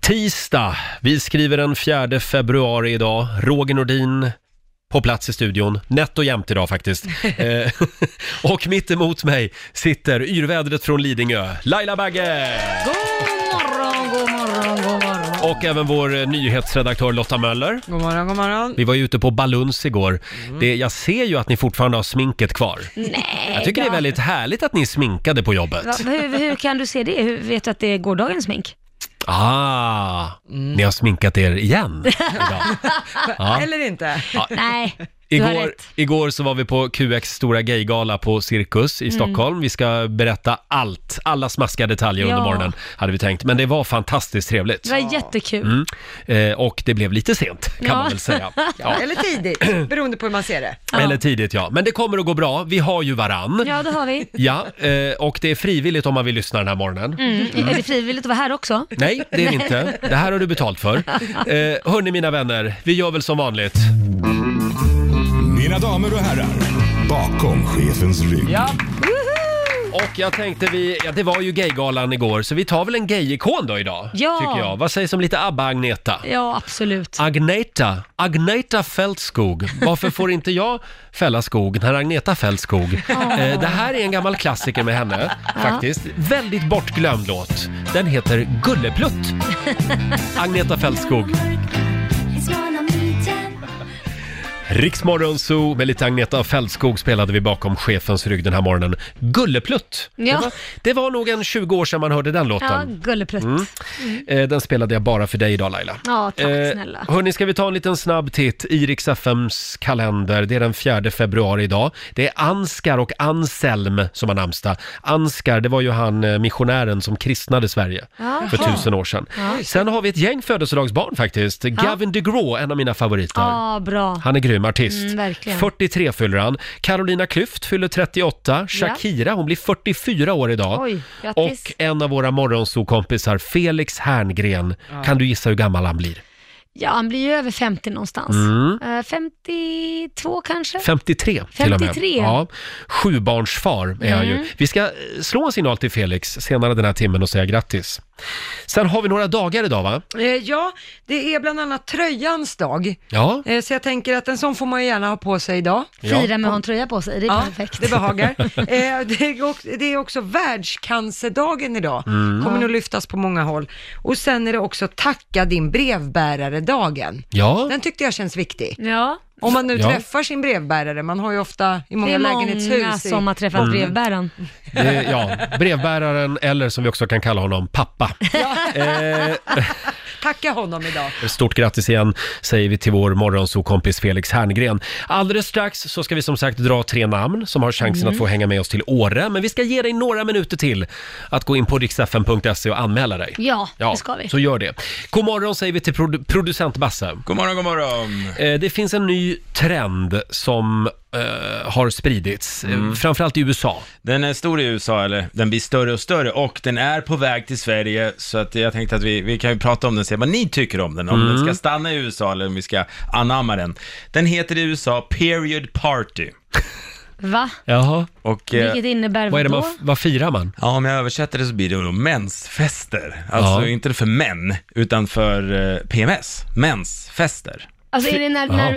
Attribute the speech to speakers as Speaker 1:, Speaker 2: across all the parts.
Speaker 1: Tisdag, vi skriver den 4 februari idag. Roger Nordin på plats i studion, nätt och jämnt idag faktiskt. Eh, och mitt emot mig sitter yrvädret från Lidingö, Laila Bagge!
Speaker 2: morgon, god morgon, god morgon.
Speaker 1: Och även vår eh, nyhetsredaktör Lotta Möller.
Speaker 2: God morgon, god morgon. Mm.
Speaker 1: Vi var ju ute på Baluns igår. Det, jag ser ju att ni fortfarande har sminket kvar.
Speaker 2: Nej,
Speaker 1: Jag tycker det är
Speaker 2: då.
Speaker 1: väldigt härligt att ni är sminkade på jobbet.
Speaker 2: Va, hur, hur kan du se det? Hur vet du att det är gårdagens smink?
Speaker 1: Ah,
Speaker 2: Mm.
Speaker 1: ni har sminkat er igen idag. Ja.
Speaker 3: Eller inte.
Speaker 2: Nej, du har
Speaker 1: Igår,
Speaker 2: rätt.
Speaker 1: igår så var vi på QX stora gaygala på Cirkus i
Speaker 2: Mm.
Speaker 1: Stockholm. Vi ska berätta allt, alla smaskiga detaljer under
Speaker 2: Ja.
Speaker 1: morgonen hade vi tänkt. Men det var fantastiskt
Speaker 2: Det
Speaker 1: trevligt.
Speaker 2: var jättekul.
Speaker 1: Mm. Eh, och det blev lite sent kan
Speaker 2: Ja.
Speaker 1: man väl säga. Ja.
Speaker 3: Ja. Eller tidigt, beroende på hur man ser det.
Speaker 2: Ja.
Speaker 1: Eller tidigt ja. Men det kommer att gå bra. Vi har ju varann. Ja,
Speaker 2: Ja, det har vi.
Speaker 1: eh, och det är frivilligt om man vill lyssna den här morgonen.
Speaker 2: Mm. Är det frivilligt att vara här också?
Speaker 1: Nej, det är det inte. Det här har du betalt för. Eh, hörni mina vänner, vi gör väl som vanligt.
Speaker 4: Mina damer och herrar, bakom chefens rygg.
Speaker 1: Och jag tänkte vi, ja det var ju gaygalan igår, så vi tar väl en gayikon då idag,
Speaker 2: Ja.
Speaker 1: tycker jag. Vad sägs om lite ABBA-Agneta?
Speaker 2: Ja, absolut.
Speaker 1: Agneta, Agneta Fältskog. Varför får inte jag fälla skog när Agneta fällt skog? Eh, det här är en gammal klassiker med henne, faktiskt. Väldigt bortglömd låt. Den heter Gulleplutt. Agneta Fältskog. Riksmorgon Zoo med lite Agneta Fältskog spelade vi bakom chefens rygg den här morgonen. Gulleplutt! Det,
Speaker 2: Ja.
Speaker 1: var, det var nog en 20 år sedan man hörde den
Speaker 2: Ja,
Speaker 1: låten.
Speaker 2: gulleplutt.
Speaker 1: Eh, den spelade jag bara för dig idag Laila.
Speaker 2: Ja, tack
Speaker 1: Eh,
Speaker 2: snälla.
Speaker 1: Hörni, ska vi ta en liten snabb titt i Rix FMs kalender. Det är den 4 februari idag. Det är Anskar och Anselm som har namnsdag. Anskar, det var ju han eh, missionären som kristnade Sverige
Speaker 2: Jaha.
Speaker 1: för tusen år sedan. Sen har vi ett gäng födelsedagsbarn faktiskt. Gavin DeGraw, en av mina favoriter.
Speaker 2: Ja, bra.
Speaker 1: Han är grym artist.
Speaker 2: Mm, verkligen.
Speaker 1: 43 fyller han. Carolina Klüft fyller 38. Shakira, hon blir 44 år idag.
Speaker 2: Oj, grattis.
Speaker 1: och en av våra morgonsokompisar, Felix Herngren. Kan du gissa hur gammal han blir?
Speaker 2: Ja, han blir ju över 50 någonstans.
Speaker 1: Mm.
Speaker 2: Eh, 52 kanske?
Speaker 1: 53 till och med.
Speaker 2: 53.
Speaker 1: Ja. Sjubarnsfar är han
Speaker 2: Mm.
Speaker 1: ju. Vi ska eh, slå en signal till Felix senare den här timmen och säga grattis. Sen har vi några dagar idag va?
Speaker 3: Eh, Ja, det är bland annat tröjans dag.
Speaker 1: Ja,
Speaker 3: Eh, Så jag tänker att en sån får man ju gärna ha på sig idag.
Speaker 2: Fira med att ha en tröja på sig, det är
Speaker 3: Ja,
Speaker 2: perfekt.
Speaker 3: det behagar. Eh, Det är också, det är också världscancerdagen idag.
Speaker 1: Mm.
Speaker 3: Kommer nog lyftas på många håll. Och sen är det också tacka din brevbärare-dagen.
Speaker 1: ja.
Speaker 3: Den tyckte jag känns viktig.
Speaker 2: Ja,
Speaker 3: Om man nu
Speaker 1: Ja.
Speaker 3: träffar sin brevbärare, man har ju ofta i
Speaker 2: det
Speaker 3: många
Speaker 2: är många
Speaker 3: lägenhetshus.
Speaker 2: som har träffat brevbäraren.
Speaker 1: Mm. Det, ja, brevbäraren eller som vi också kan kalla honom, pappa. Eh,
Speaker 3: I, tacka honom idag.
Speaker 1: Stort grattis igen säger vi till vår morgonsokompis Felix Herngren. Alldeles strax så ska vi som sagt dra tre namn som har chansen
Speaker 2: Mm.
Speaker 1: att få hänga med oss till Åre. Men vi ska ge dig några minuter till att gå in på riksfn.se och anmäla dig.
Speaker 2: Ja, det ska vi.
Speaker 1: Så gör det. God morgon säger vi till produ- producent Basse.
Speaker 5: God morgon, god morgon.
Speaker 1: Eh, Det finns en ny trend som eh, har spridits, eh, framförallt i USA.
Speaker 5: Mm. Den är stor i USA, eller den blir större och större och den är på väg till Sverige så att jag tänkte att vi, vi kan ju prata om den och se vad ni tycker om den, om den
Speaker 1: Mm.
Speaker 5: ska stanna i USA eller om vi ska anamma den. Den heter i USA Period Party
Speaker 2: Va?
Speaker 1: Jaha.
Speaker 5: och eh,
Speaker 2: Vilket innebär
Speaker 1: Vad, är det man,
Speaker 2: vadå?
Speaker 1: f- vad firar man?
Speaker 5: Ja, om jag översätter det så blir det då mensfester. Alltså
Speaker 1: Ja.
Speaker 5: inte för män, utan för eh, PMS. Mensfester.
Speaker 2: Alltså är det när, när,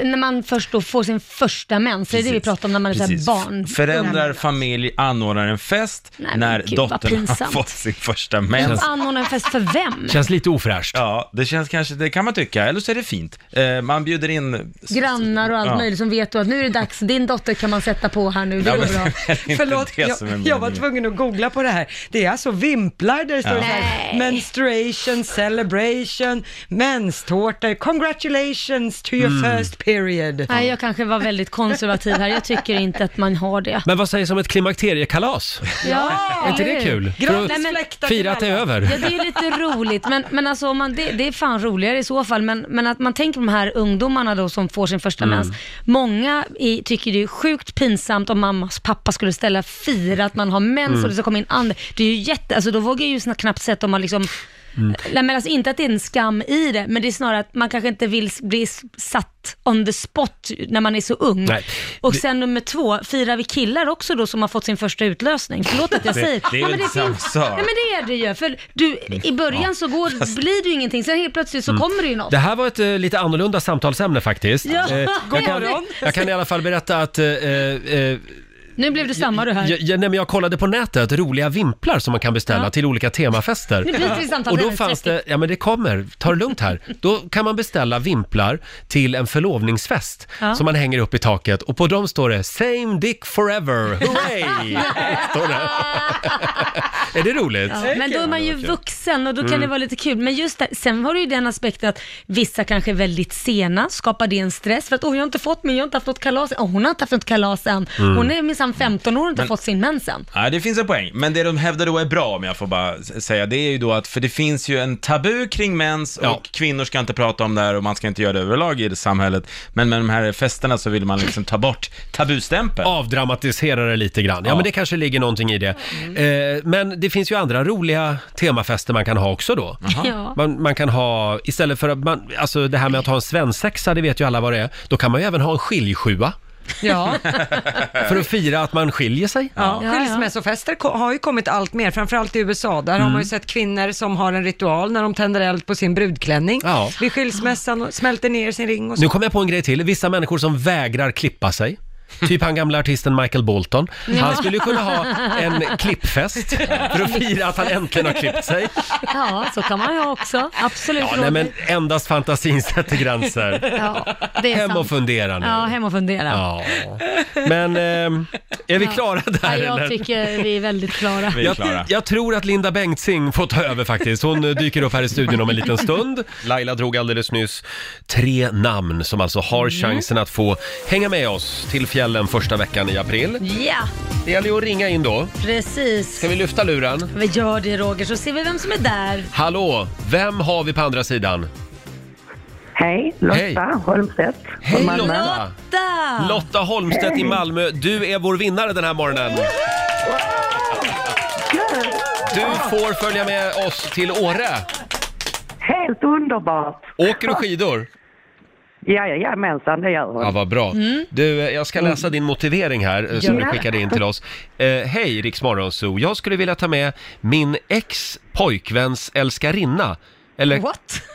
Speaker 2: eh, när man först då får sin första mens? Är det det vi
Speaker 5: Precis.
Speaker 2: pratar om när man är så här
Speaker 5: Precis.
Speaker 2: barn?
Speaker 5: Föräldrar, familj anordnar en fest
Speaker 2: Nej, men
Speaker 5: när
Speaker 2: gud, vad
Speaker 5: dottern har
Speaker 2: pinsamt.
Speaker 5: fått sin första
Speaker 2: Vem
Speaker 5: mens.
Speaker 2: anordnar en fest för vem?
Speaker 1: Känns lite ofräscht.
Speaker 5: Ja, det känns kanske, det kan man tycka, eller så är det fint. Eh, man bjuder in...
Speaker 2: Grannar och allt
Speaker 5: Ja.
Speaker 2: möjligt som vet då att nu är det dags, din dotter kan man sätta på här nu, det
Speaker 5: Ja,
Speaker 2: går
Speaker 5: men-
Speaker 2: bra.
Speaker 5: det är inte
Speaker 3: Förlåt,
Speaker 5: det
Speaker 3: jag,
Speaker 5: som är
Speaker 3: jag var
Speaker 5: meningen.
Speaker 3: tvungen att googla på det här. Det är alltså vimplar där det står så här,
Speaker 2: Nej.
Speaker 3: menstruation, celebration, menstårtor, congratulations to your
Speaker 1: Mm.
Speaker 3: first period.
Speaker 2: Nej, jag kanske var väldigt konservativ här. Jag tycker inte att man har det.
Speaker 1: Men vad sägs om ett klimakteriekalas?
Speaker 2: Ja,
Speaker 1: Är inte det kul? För att
Speaker 2: Nej, men-
Speaker 3: Gratisfläktar till
Speaker 1: Fira att det är
Speaker 3: alla.
Speaker 1: över.
Speaker 2: Ja, det är lite roligt, men, men alltså, om man, det, det är fan roligare i så fall. Men, men att man tänker på de här ungdomarna då som får sin första
Speaker 1: Mm.
Speaker 2: mens. Många i, tycker det är sjukt pinsamt om mammas pappa skulle ställa
Speaker 1: Mm.
Speaker 2: fira att man har mens och det ska komma in andra. Det är ju jätte, alltså då vågar jag ju sna- knappt sätta om man liksom
Speaker 1: Mm.
Speaker 2: Nej, men alltså inte att det är en skam i det, men det är snarare att man kanske inte vill s- bli s- satt on the spot när man är så ung.
Speaker 1: Nej.
Speaker 2: Och sen nummer två, firar vi killar också då som har fått sin första utlösning? Förlåt att jag
Speaker 5: Det-
Speaker 2: säger.
Speaker 5: det är
Speaker 2: ja,
Speaker 5: ju
Speaker 2: men
Speaker 5: inte samma
Speaker 2: finns-
Speaker 5: sak.
Speaker 2: Nej men det är det ju, för du, i början så går, blir det ju ingenting, sen helt plötsligt
Speaker 5: Mm.
Speaker 2: så kommer det ju något.
Speaker 1: Det här var ett eh, lite annorlunda samtalsämne faktiskt.
Speaker 2: Ja.
Speaker 1: Eh,
Speaker 2: God
Speaker 1: jag, kan,
Speaker 2: morgon.
Speaker 1: jag kan i alla fall berätta att eh, eh,
Speaker 2: Nu blev det samma du här.
Speaker 1: jag, jag, nej, men jag kollade på nätet roliga vimplar som man kan beställa
Speaker 2: Ja.
Speaker 1: till olika temafester.
Speaker 2: Nu byter vi samtal.
Speaker 1: Och då fanns det, ja men det kommer, ta det lugnt här. Då kan man beställa vimplar till en förlovningsfest
Speaker 2: Ja.
Speaker 1: som man hänger upp i taket och på dem står det “Same dick forever, hooray!” står det. Är det roligt?
Speaker 2: Ja, men då är man ju vuxen och då kan
Speaker 1: Mm.
Speaker 2: det vara lite kul. Men just där, sen har du ju den aspekten att vissa kanske är väldigt sena, skapar det en stress för att åh, jag har inte fått min, jag har inte haft något kalas än. Åh, hon har inte haft något kalas än.
Speaker 1: Mm.
Speaker 2: Hon är minsann 15 år och inte fått sin mens än.
Speaker 5: Ja, det finns en poäng. Men det de hävdar då är bra, om jag får bara s- säga, det är ju då att, för det finns ju en tabu kring mens och
Speaker 1: Ja.
Speaker 5: kvinnor ska inte prata om det här och man ska inte göra det överlag i det samhället. Men med de här festerna så vill man liksom ta bort tabustämpeln.
Speaker 1: Avdramatisera det lite grann. Ja,
Speaker 5: Ja.
Speaker 1: men det kanske ligger någonting i det. Eh, men det finns ju andra roliga temafester man kan ha också då.
Speaker 2: Ja.
Speaker 1: Man, man kan ha, istället för att man, alltså det här med att ha en svensexa, det vet ju alla vad det är. Då kan man ju även ha en skiljsjua
Speaker 3: Ja,
Speaker 1: för att fira att man skiljer sig.
Speaker 3: ja.
Speaker 2: ja.
Speaker 3: skilsmässofester ko- har ju kommit allt mer, framförallt i USA. Där
Speaker 1: Mm.
Speaker 3: har man ju sett kvinnor som har en ritual när de tänder eld på sin brudklänning
Speaker 1: Ja.
Speaker 3: vid skilsmässan och smälter ner sin ring och så.
Speaker 1: Nu kom jag på en grej till. Vissa människor som vägrar klippa sig. Typ han gamla artisten Michael Bolton. Han skulle ju kunna ha en klippfest för att fira att han äntligen har klippt sig.
Speaker 2: ja, så kan man ju ha också. Absolut.
Speaker 1: Ja, nej
Speaker 2: Roger.
Speaker 1: men endast fantasin sätter gränser.
Speaker 2: ja, det är
Speaker 1: Hem och
Speaker 2: sant.
Speaker 1: fundera nu.
Speaker 2: Ja, hem och fundera. Ja.
Speaker 1: Ja. Men ehm, är vi klara där
Speaker 2: jag
Speaker 1: eller?
Speaker 2: tycker vi är väldigt klara.
Speaker 5: Vi är klara.
Speaker 1: Jag, jag tror att Linda Bengtzing får ta över faktiskt. Hon eh, dyker upp här i studion om en liten stund. Laila drog alldeles nyss tre namn som alltså
Speaker 2: Mm.
Speaker 1: har chansen att få hänga med oss till fjällen första veckan i april.
Speaker 2: Ja,
Speaker 1: Det gäller ju att ringa in då.
Speaker 2: precis.
Speaker 1: Ska vi lyfta luren?
Speaker 2: Vi gör det Roger, så ser vi vem som är där.
Speaker 1: Hallå, vem har vi på andra sidan?
Speaker 6: Hej,
Speaker 1: Hej.
Speaker 6: Lotta Holmstedt.
Speaker 1: Hej
Speaker 6: Malmö.
Speaker 1: Lotta!
Speaker 2: Lotta!
Speaker 1: Lotta Holmstedt i Malmö, du är vår vinnare den här morgonen. Du får följa med oss till Åre.
Speaker 6: Helt underbart!
Speaker 1: Åker du skidor?
Speaker 6: Ja, ja, jajamensan, det gör hon.
Speaker 1: Ja, vad bra.
Speaker 2: Mm.
Speaker 1: Du, eh, jag ska läsa din motivering här eh, som
Speaker 6: Ja.
Speaker 1: du skickade in till oss. Eh, Hej Riksmorgon Zoo, jag skulle vilja ta med min ex pojkväns älskarinna. Eller
Speaker 2: What?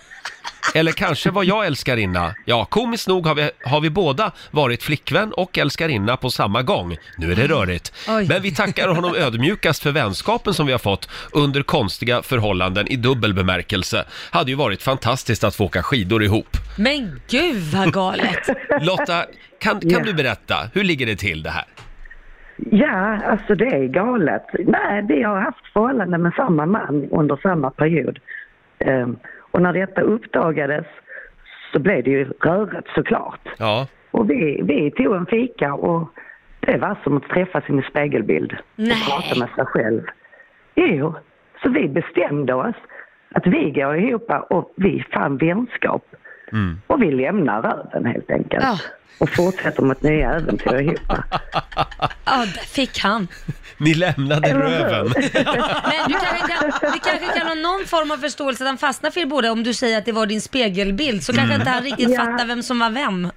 Speaker 1: Eller kanske var jag älskarinna? Ja, komiskt nog har vi, har vi båda varit flickvän och älskarinna på samma gång. Nu är det rörigt.
Speaker 2: Ah. Oj.
Speaker 1: Men vi tackar honom ödmjukast för vänskapen som vi har fått under konstiga förhållanden i dubbel bemärkelse. Hade ju varit fantastiskt att få åka skidor ihop.
Speaker 2: Men gud vad galet!
Speaker 1: Lotta, kan, kan
Speaker 6: Ja.
Speaker 1: du berätta, hur ligger det till det här?
Speaker 6: Ja, alltså det är galet. Nej, vi har haft förhållande med samma man under samma period. Ehm, och när detta uppdagades så blev det ju rörigt såklart.
Speaker 1: Ja,
Speaker 6: Och vi, vi tog en fika och det var som att träffa sin spegelbild
Speaker 2: Nej.
Speaker 6: och prata med sig själv. Jo, så vi bestämde oss att vi går ihop och vi fann vänskap.
Speaker 1: Mm.
Speaker 6: Och vi lämnar röven helt enkelt.
Speaker 2: Ja.
Speaker 6: Och fortsätter mot nya äventyr ihop.
Speaker 2: Ja, där fick han.
Speaker 1: ni lämnade röven.
Speaker 2: Men du kanske, kan, du kanske kan ha någon form av förståelse att han fastnar för er båda om du säger att det var din spegelbild så
Speaker 1: Mm.
Speaker 2: kanske inte han riktigt
Speaker 6: Ja.
Speaker 2: fattar vem som var vem.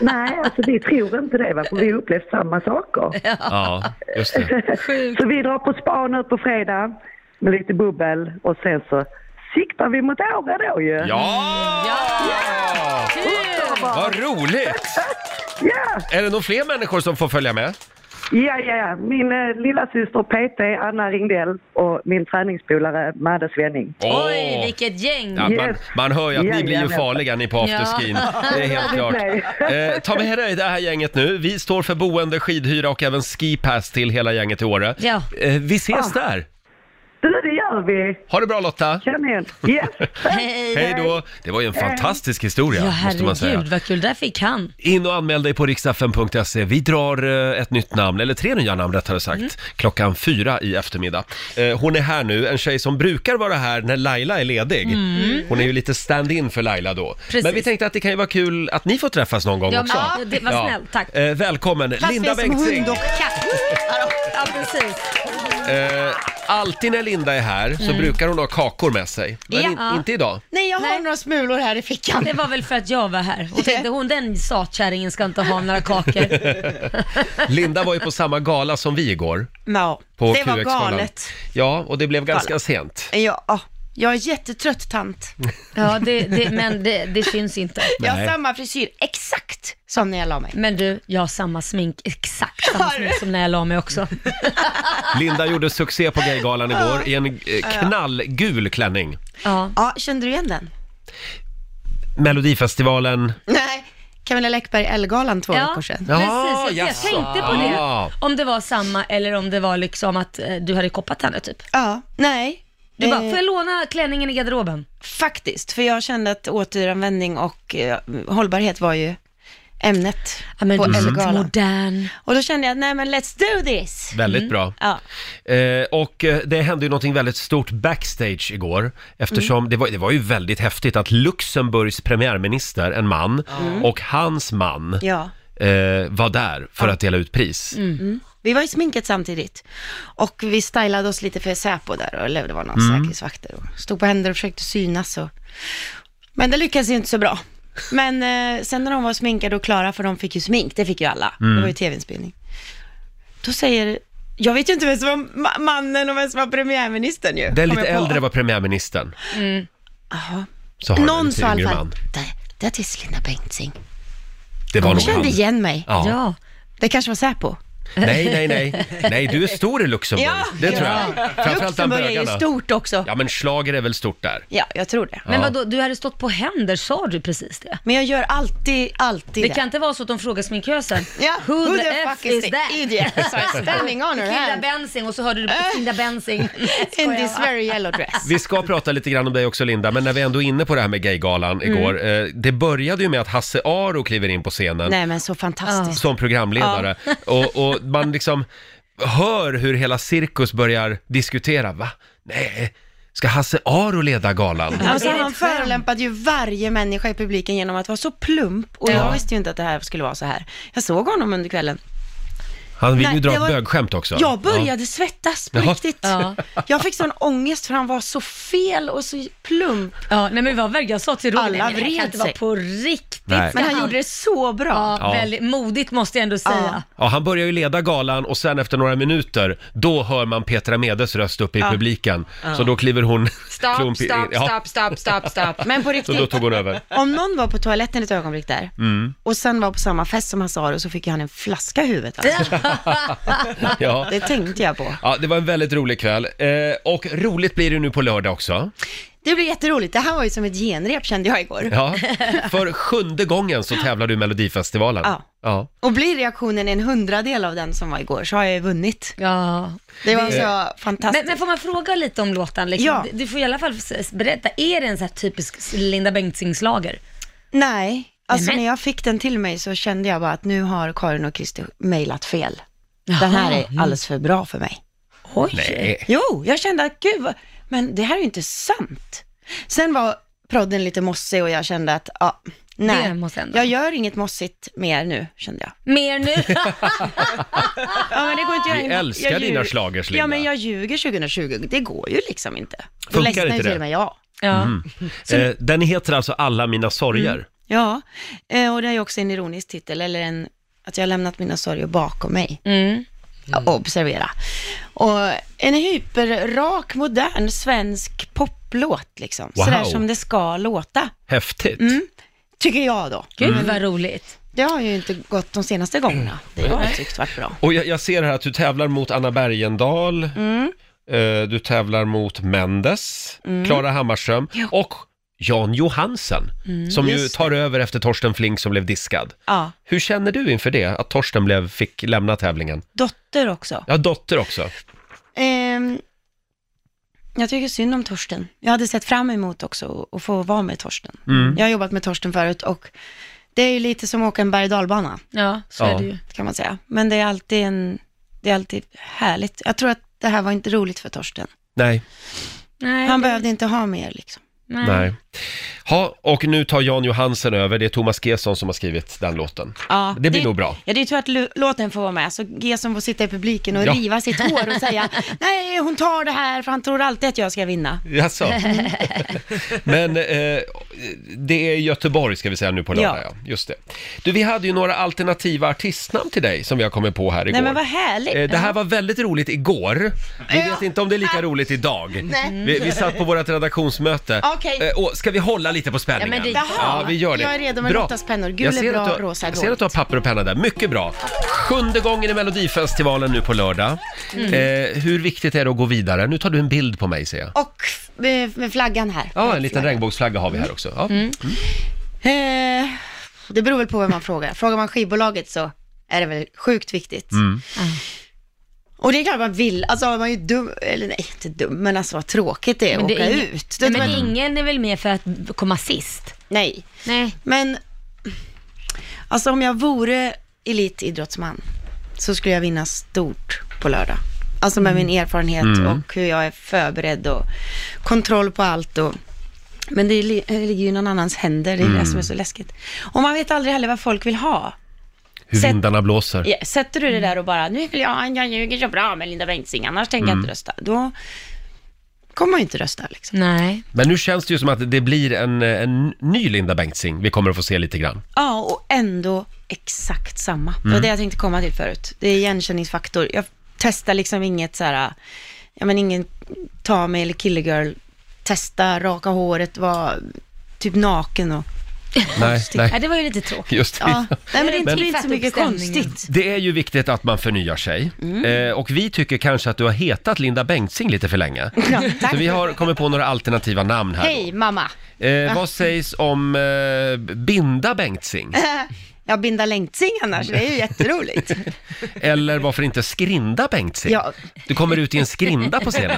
Speaker 6: Nej, alltså vi tror inte det va, för vi har upplevt samma saker.
Speaker 1: Ja, just det.
Speaker 6: Så vi drar på spa nu på fredag med lite bubbel och sen så siktar vi mot Åre då ju.
Speaker 1: Ja!
Speaker 2: Kul!
Speaker 1: Vad roligt!
Speaker 6: Ja!
Speaker 1: Är det några fler människor som får följa med?
Speaker 6: Ja, ja, ja. Min eh, lilla syster PT, Anna Ringdell, och min träningspolare Madde Svenning.
Speaker 2: Oj,
Speaker 1: Åh.
Speaker 2: vilket gäng!
Speaker 1: Ja, man,
Speaker 6: Yes.
Speaker 1: man hör ju att ni blir ju
Speaker 6: Jajamän.
Speaker 1: farliga ni på afterskin.
Speaker 2: Ja.
Speaker 1: Det är helt klart.
Speaker 6: Nej.
Speaker 1: Eh, ta med dig det här gänget nu. Vi står för boende, skidhyra och även skipass till hela gänget i Åre.
Speaker 2: Ja.
Speaker 1: Eh, vi
Speaker 6: Ah.
Speaker 1: ses där!
Speaker 6: Du, det gör vi!
Speaker 1: Ha det bra Lotta!
Speaker 6: Kanon! Yes!
Speaker 2: Hej!
Speaker 1: Hej då! Det var ju en fantastisk historia,
Speaker 2: Ja,
Speaker 1: måste man säga.
Speaker 2: herregud vad kul, där fick han.
Speaker 1: In och anmäl dig på riksdagen.se. Vi drar eh, ett nytt namn, eller tre nya namn rättare
Speaker 2: Mm.
Speaker 1: sagt, klockan fyra i eftermiddag. Eh, Hon är här nu, en tjej som brukar vara här när Laila är ledig. Mm. Hon är ju lite stand-in för Laila då.
Speaker 2: Mm. Precis.
Speaker 1: Men vi tänkte att det kan ju vara kul att ni får träffas någon gång
Speaker 2: Ja,
Speaker 1: också.
Speaker 2: men, det var snällt, tack.
Speaker 1: Eh, Välkommen, Linda Bengtzing!
Speaker 7: katt.
Speaker 2: Ja, precis.
Speaker 1: Eh, Alltid när Linda är här
Speaker 2: Mm.
Speaker 1: så brukar hon ha kakor med sig. Men
Speaker 8: Ja.
Speaker 1: in, inte idag.
Speaker 8: Nej, jag har
Speaker 2: Nej.
Speaker 8: några smulor här i fickan.
Speaker 2: Det var väl för att jag var här och tänkte hon den satkärringen ska inte ha några kakor.
Speaker 1: Linda var ju på samma gala som vi igår.
Speaker 8: Ja,
Speaker 1: På
Speaker 8: det var
Speaker 1: QX-galan.
Speaker 8: galet.
Speaker 1: Ja, och det blev ganska sent.
Speaker 8: Ja, jag är jättetrött tant.
Speaker 2: Ja, det, det, men det, det syns inte.
Speaker 8: Jag
Speaker 1: Nej.
Speaker 8: har samma frisyr, exakt som när jag la mig.
Speaker 2: Men du, jag har samma smink, exakt samma smink som när jag la mig också.
Speaker 1: Linda gjorde succé på Gaygalan igår i en eh, knallgul klänning.
Speaker 2: Ja.
Speaker 8: Ja, kände du igen den?
Speaker 1: Melodifestivalen.
Speaker 8: Nej, Camilla Läckberg Ellegalan två veckor sedan.
Speaker 1: Ja,
Speaker 2: precis. Jag,
Speaker 1: Ah,
Speaker 2: jag
Speaker 1: jaså. Ah.
Speaker 2: tänkte på det.
Speaker 1: Ja.
Speaker 2: Om det var samma eller om det var liksom att eh, du hade koppat henne typ.
Speaker 8: Ja, nej.
Speaker 2: Du bara,
Speaker 8: Eh,
Speaker 2: får jag låna klänningen i garderoben?
Speaker 8: Faktiskt, för jag kände att återanvändning och eh, hållbarhet var ju ämnet
Speaker 2: Ja, men
Speaker 8: på
Speaker 2: du är så
Speaker 8: Ellegalan.
Speaker 2: modern.
Speaker 8: Och då kände jag, nej men let's do this. Mm.
Speaker 1: Väldigt bra.
Speaker 8: Ja.
Speaker 1: Eh, och eh, det hände ju någonting väldigt stort backstage igår eftersom
Speaker 8: Mm.
Speaker 1: det, var, det var ju väldigt häftigt att Luxemburgs premiärminister, en man, och hans man
Speaker 8: Mm. ja.
Speaker 1: eh, var där för att dela ut pris.
Speaker 8: Mm. Vi var i sminket samtidigt och vi stylade oss lite för Säpo där, och- eller det var någon
Speaker 1: Mm.
Speaker 8: säkerhetsvakter och stod på händer och försökte synas och... Men det lyckades ju inte så bra. Men eh, sen när de var sminkade och klara, för de fick ju smink, det fick ju alla,
Speaker 1: Mm.
Speaker 8: det var ju tv-inspelning. Då säger, jag vet ju inte vem som var ma- mannen och vem som var premiärministern ju.
Speaker 1: Den
Speaker 8: kom
Speaker 1: lite
Speaker 8: jag på.
Speaker 1: äldre var premiärministern.
Speaker 8: Jaha.
Speaker 1: Så har
Speaker 8: Någon
Speaker 1: du
Speaker 8: sa i
Speaker 1: en
Speaker 8: alla
Speaker 1: yngre
Speaker 8: fall,
Speaker 1: man.
Speaker 8: där, där är Linda Bengtzing.
Speaker 1: Det var
Speaker 8: Hon
Speaker 1: nog han.
Speaker 8: kände igen mig.
Speaker 1: Ja.
Speaker 2: Ja.
Speaker 8: Det kanske var Säpo.
Speaker 1: Nej, nej, nej. Nej, du är stor i Luxemburg.
Speaker 8: Ja.
Speaker 1: Det tror jag. Framförallt bland
Speaker 8: Luxemburg är ju
Speaker 1: bögarna.
Speaker 8: stort också.
Speaker 1: Ja, men schlager är väl stort där.
Speaker 8: Ja, jag tror det.
Speaker 2: Men
Speaker 1: Ja.
Speaker 2: vadå, du hade stått på händer, sa du precis det?
Speaker 8: Men jag gör alltid, alltid
Speaker 2: Det kan inte vara så att de frågar sminkösen.
Speaker 8: Ja,
Speaker 2: Who, the, F is that?
Speaker 8: Idiot. So standing on her
Speaker 2: Kinda
Speaker 8: hand
Speaker 2: Bensing och så hörde du Kinda Bensing.
Speaker 8: in this very yellow dress.
Speaker 1: Vi ska prata lite grann om dig också Linda, men när vi ändå är inne på det här med Gaygalan
Speaker 8: Mm.
Speaker 1: igår. Eh, det började ju med att Hasse Aro kliver in på scenen
Speaker 8: Nej men så fantastiskt.
Speaker 1: som programledare. Och, och man liksom hör hur hela cirkus börjar diskutera. Va? Nej, ska Hasse Aro leda galan?
Speaker 8: Alltså, han förolämpade ju varje människa i publiken genom att vara så plump och jag visste ju inte att det här skulle vara så här. Jag såg honom under kvällen.
Speaker 1: Han vill
Speaker 8: Nej,
Speaker 1: ju dra
Speaker 8: det
Speaker 1: ett
Speaker 8: var-
Speaker 1: bögskämt också.
Speaker 8: Jag började svettas på
Speaker 1: Jaha.
Speaker 8: riktigt.
Speaker 2: Ja.
Speaker 8: Jag fick sån ångest för han var så fel och så plump.
Speaker 2: Ja, nej men vi var verkligen, jag sa till Roger,
Speaker 8: Alla
Speaker 2: nej, men det här
Speaker 8: vred
Speaker 2: kan inte vara
Speaker 8: sig.
Speaker 2: på riktigt.
Speaker 1: Nej.
Speaker 8: Men han gjorde det så bra.
Speaker 2: Ja,
Speaker 1: Ja.
Speaker 2: Väldigt modigt måste jag ändå säga.
Speaker 1: Ja, han börjar ju leda galan och sen efter några minuter, då hör man Petra Medes röst uppe i publiken. Så då kliver hon...
Speaker 3: Stopp,
Speaker 1: Klump i-
Speaker 3: stopp,
Speaker 1: ja,
Speaker 3: stopp, stopp, stopp, stopp.
Speaker 8: Men på
Speaker 1: Så då
Speaker 8: riktigt,
Speaker 1: tog hon Mm. över.
Speaker 8: om någon var på toaletten ett ögonblick där och sen var på samma fest som Hasse Aro så fick ju han en flaska i huvudet. Alltså.
Speaker 1: Ja.
Speaker 8: Det tänkte jag på.
Speaker 1: Ja, det var en väldigt rolig kväll. Eh, och roligt blir det nu på lördag också.
Speaker 8: Det blir jätteroligt. Det här var ju som ett genrep kände jag igår.
Speaker 1: Ja. För sjunde gången så tävlar du i Melodifestivalen.
Speaker 8: Ja.
Speaker 1: ja.
Speaker 8: Och blir reaktionen en hundradel av den som var igår så har jag ju vunnit.
Speaker 2: Ja.
Speaker 8: Det var så fantastiskt.
Speaker 2: Men, men får man fråga lite om låten? Liksom?
Speaker 8: Ja.
Speaker 2: Du- Du får i alla fall s- berätta, är det en så här typisk Linda Bengtzing-schlager?
Speaker 8: Nej, alltså
Speaker 2: Nämen.
Speaker 8: när jag fick den till mig så kände jag bara att nu har Karin och Christer mejlat fel. Den här är alldeles för bra för mig.
Speaker 2: Mm. Oj.
Speaker 1: Nej.
Speaker 8: Jo, jag kände att gud, vad- men det här är ju inte sant. Sen var prodden lite mossig och jag kände att, ja,
Speaker 2: Det
Speaker 8: nej,
Speaker 2: måste ändå-
Speaker 8: jag gör inget mossigt mer nu, kände jag.
Speaker 2: Mer nu?
Speaker 8: Ja, men det går inte att
Speaker 1: Vi
Speaker 8: göra-
Speaker 1: älskar
Speaker 8: jag
Speaker 1: dina
Speaker 8: ljuger.
Speaker 1: schlagers, Linda.
Speaker 8: Ja, men jag ljuger 2020. Det går ju liksom inte. Då
Speaker 1: Funkar
Speaker 8: ledsnar ju
Speaker 1: inte det?
Speaker 8: till och med jag.
Speaker 2: ja.
Speaker 1: Eh, den heter alltså Alla mina sorger.
Speaker 8: Ja, eh, och det är ju också en ironisk titel, eller en, att jag har lämnat mina sorger bakom mig.
Speaker 2: Mm.
Speaker 8: Ja, Observera. Och en hyperrak, modern, svensk poplåt liksom.
Speaker 1: Wow.
Speaker 8: Sådär som det ska låta,
Speaker 1: Häftigt.
Speaker 8: tycker jag då.
Speaker 2: Gud
Speaker 1: Mm.
Speaker 2: vad roligt.
Speaker 8: Det har ju inte gått de senaste gångerna. Det har jag tyckt varit bra.
Speaker 1: Och jag, jag ser här att du tävlar mot Anna Bergendahl,
Speaker 8: Mm.
Speaker 1: eh, du tävlar mot Mendes,
Speaker 8: Mm.
Speaker 1: Klara Hammarström och Jan Johansen, som ju
Speaker 8: Mm, just
Speaker 1: tar över efter Torsten Flink som blev diskad.
Speaker 8: Ja,
Speaker 1: Hur känner du inför det, att Torsten blev, fick lämna tävlingen?
Speaker 8: dotter också.
Speaker 1: Ja, dotter också.
Speaker 8: Ehm, jag tycker synd om Torsten. Jag hade sett fram emot också att få vara med Torsten.
Speaker 1: Mm.
Speaker 8: Jag har jobbat med Torsten förut och det är ju lite som att åka en berg och dalbana.
Speaker 2: Ja, så
Speaker 1: Ja.
Speaker 2: är det ju.
Speaker 8: kan man säga. Men det är alltid en, det är alltid härligt. Jag tror att det här var inte roligt för Torsten.
Speaker 1: Nej,
Speaker 2: Nej,
Speaker 8: Han
Speaker 2: det-
Speaker 8: behövde inte ha mer liksom.
Speaker 1: nej. Ha, och nu tar Jan Johansen över. Det är Thomas Gesson som har skrivit den låten.
Speaker 8: Ja,
Speaker 1: det blir nog bra.
Speaker 8: Ja, det är tur att lu- låten får vara med, så G som får sitta i publiken och
Speaker 1: Ja.
Speaker 8: riva sitt hår och säga nej, hon tar det här för han tror alltid att jag ska vinna.
Speaker 1: Jaså? Men eh, det är Göteborg ska vi säga nu på lördag, ja.
Speaker 8: Ja.
Speaker 1: Just det. Du, vi hade ju några alternativa artistnamn till dig som vi har kommit på här igår.
Speaker 8: Nej men vad härligt.
Speaker 1: Eh, Det här var väldigt roligt igår. Vi vet inte om det är lika roligt idag.
Speaker 8: Nej. Mm.
Speaker 1: Vi, vi satt på vårt redaktionsmöte.
Speaker 8: Okej.
Speaker 1: Eh, och ska vi hålla lite på spänningen?
Speaker 2: Ja, men det-
Speaker 1: ja,
Speaker 8: Jaha,
Speaker 1: vi gör det.
Speaker 8: jag är redo med
Speaker 1: Bra.
Speaker 8: Lottas pennor. Gul
Speaker 1: Jag
Speaker 8: är
Speaker 1: ser
Speaker 8: bra,
Speaker 1: att du har-
Speaker 8: rosa är
Speaker 1: Jag ser att du har papper och penna där. Mycket bra. Sjunde gången i Melodifestivalen nu på lördag.
Speaker 8: Mm.
Speaker 1: Eh, hur viktigt är det att gå vidare? Nu tar du en bild på mig ser jag.
Speaker 8: Och f- med med flaggan här.
Speaker 1: Ja, en liten regnbågsflagga har vi här också. Ja.
Speaker 8: Mm. Eh, det beror väl på vem man frågar. Frågar man skivbolaget så är det väl sjukt viktigt.
Speaker 1: Mm.
Speaker 2: Mm.
Speaker 8: Och det är klart man vill, alltså man är ju dum, eller nej, inte dum, men alltså vad tråkigt det är att
Speaker 2: det
Speaker 8: åka
Speaker 2: är ingen-
Speaker 8: ut. Det
Speaker 2: Nej,
Speaker 8: är
Speaker 2: men
Speaker 8: väl-
Speaker 2: ingen är väl med för att komma sist?
Speaker 8: nej,
Speaker 2: Nej.
Speaker 8: men alltså om jag vore elitidrottsman så skulle jag vinna stort på lördag. Alltså med
Speaker 2: Mm.
Speaker 8: min erfarenhet och hur jag är förberedd och kontroll på allt och men det li- det ligger ju i någon annans händer, det är
Speaker 2: Mm.
Speaker 8: det som är så läskigt. Och man vet aldrig heller vad folk vill ha.
Speaker 1: Hur
Speaker 8: Sätt-
Speaker 1: vindarna blåser.
Speaker 8: Ja, sätter du det där och bara, nu vill jag ha en Jag ljuger så bra med Linda Bengtzing, annars tänker
Speaker 1: Mm.
Speaker 8: jag inte rösta. Då kommer man ju inte rösta liksom.
Speaker 2: Nej.
Speaker 1: Men nu känns det ju som att det blir en, en ny Linda Bengtzing vi kommer att få se lite grann.
Speaker 8: Ja, och ändå exakt samma. Det var
Speaker 1: Mm.
Speaker 8: det jag tänkte komma till förut. Det är igenkänningsfaktor. Jag testar liksom inget så här, ja men ingen ta mig eller killegirl, testa, raka håret, vara typ naken och,
Speaker 1: Nej,
Speaker 2: Ja,
Speaker 1: nej.
Speaker 2: det var ju lite tråkigt.
Speaker 1: Just det.
Speaker 8: ja. Nej men det är inte,
Speaker 2: Men-
Speaker 8: det är inte så mycket Mm.
Speaker 2: Uppställningen.
Speaker 8: konstigt.
Speaker 1: Det är ju viktigt att man förnyar sig. Eh, och vi tycker kanske att du har hetat Linda Bengtzing lite för länge.
Speaker 8: Ja, tack.
Speaker 1: Så vi har kommit på några alternativa namn här.
Speaker 8: Hej mamma.
Speaker 1: Eh, vad sägs om eh, Binda Bengtzing?
Speaker 8: Jag bindar Bengtzing annars, det är ju jätteroligt.
Speaker 1: Eller varför inte Skrinda Bengtzing?
Speaker 8: Ja.
Speaker 1: Du kommer ut i en skrinda på scenen.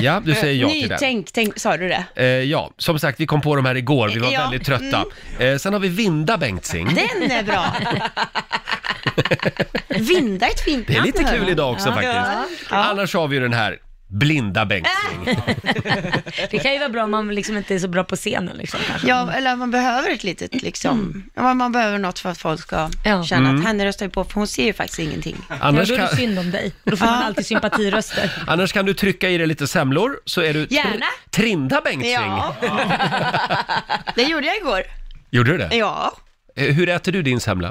Speaker 1: Ja, du säger ja till den.
Speaker 8: Nytänk, Eh, tänk, sa du det?
Speaker 1: Eh, ja, som sagt, vi kom på de här igår. Vi var
Speaker 8: Ja, Mm.
Speaker 1: väldigt trötta. Eh, sen har vi Vinda Bengtzing.
Speaker 8: Den är bra. Vinda är ett fint
Speaker 1: Det är
Speaker 8: namn,
Speaker 1: lite
Speaker 8: hör
Speaker 1: kul
Speaker 8: jag.
Speaker 1: idag också
Speaker 8: Ja.
Speaker 1: faktiskt. Annars har vi ju den här Blinda Bengtzing.
Speaker 2: Det kan ju vara bra om man liksom inte är så bra på scenen liksom kanske. Mm.
Speaker 8: Ja, eller man behöver ett litet liksom, ja, man- man behöver något för att folk ska
Speaker 2: Ja.
Speaker 8: känna att henne röstar ju på, för hon ser ju faktiskt ingenting.
Speaker 2: Annars
Speaker 1: Mm. Annars
Speaker 2: då är
Speaker 1: kan,
Speaker 2: det synd om dig. Då får man alltid sympatiröster.
Speaker 1: annars kan du trycka i dig lite semlor så är du tr-
Speaker 8: Äh. Gärna.
Speaker 1: Trinda Bengtzing.
Speaker 8: Ja. det gjorde jag igår.
Speaker 1: Gjorde du det?
Speaker 8: Ja.
Speaker 1: Eh, Hur äter du din semla?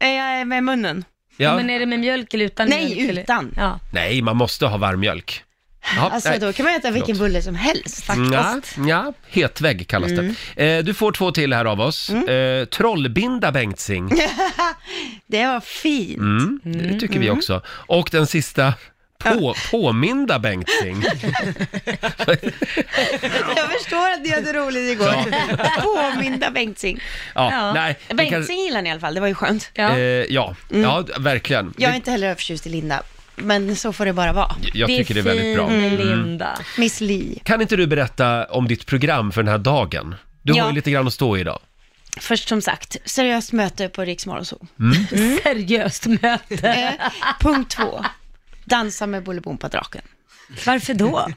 Speaker 8: Eh, Med munnen.
Speaker 1: Ja.
Speaker 2: Men är det med mjölk eller utan
Speaker 8: Nej,
Speaker 2: mjölk? eller-
Speaker 8: utan.
Speaker 2: Ja.
Speaker 1: Nej, man måste ha varm mjölk. Ja,
Speaker 8: Alltså
Speaker 1: nej. Mm,
Speaker 8: då kan man äta vilken bulle som helst.
Speaker 1: Ja, ja, hetvägg kallas
Speaker 8: Mm.
Speaker 1: det. Eh, du får två till här av oss. Eh, trollbinda Bengtzing,
Speaker 8: Det var fint.
Speaker 1: mm, det tycker vi också. Och den sista, på, påminda Bengtzing.
Speaker 8: Jag förstår att ni hade roligt igår. Påminda Bengtzing.
Speaker 1: Ja,
Speaker 2: Ja.
Speaker 1: nej. vi
Speaker 8: Bengtzing
Speaker 1: kan-
Speaker 8: gillar ni i alla fall, det var ju skönt.
Speaker 2: Ja.
Speaker 1: Eh, ja. ja, verkligen.
Speaker 8: Mm. Jag är
Speaker 1: Det-
Speaker 8: inte heller övertjust i Linda, men så får det bara vara.
Speaker 1: jag tycker det är väldigt bra. Mm.
Speaker 2: fin Linda.
Speaker 8: Miss Li.
Speaker 1: Kan inte du berätta om ditt program för den här dagen? Du
Speaker 8: Ja.
Speaker 1: har ju lite grann att stå i idag.
Speaker 8: Först som sagt, seriöst möte på Riksmorgonzoo.
Speaker 2: Seriöst möte.
Speaker 8: Eh, punkt två, dansa med Bolibompa-draken.
Speaker 2: Varför då?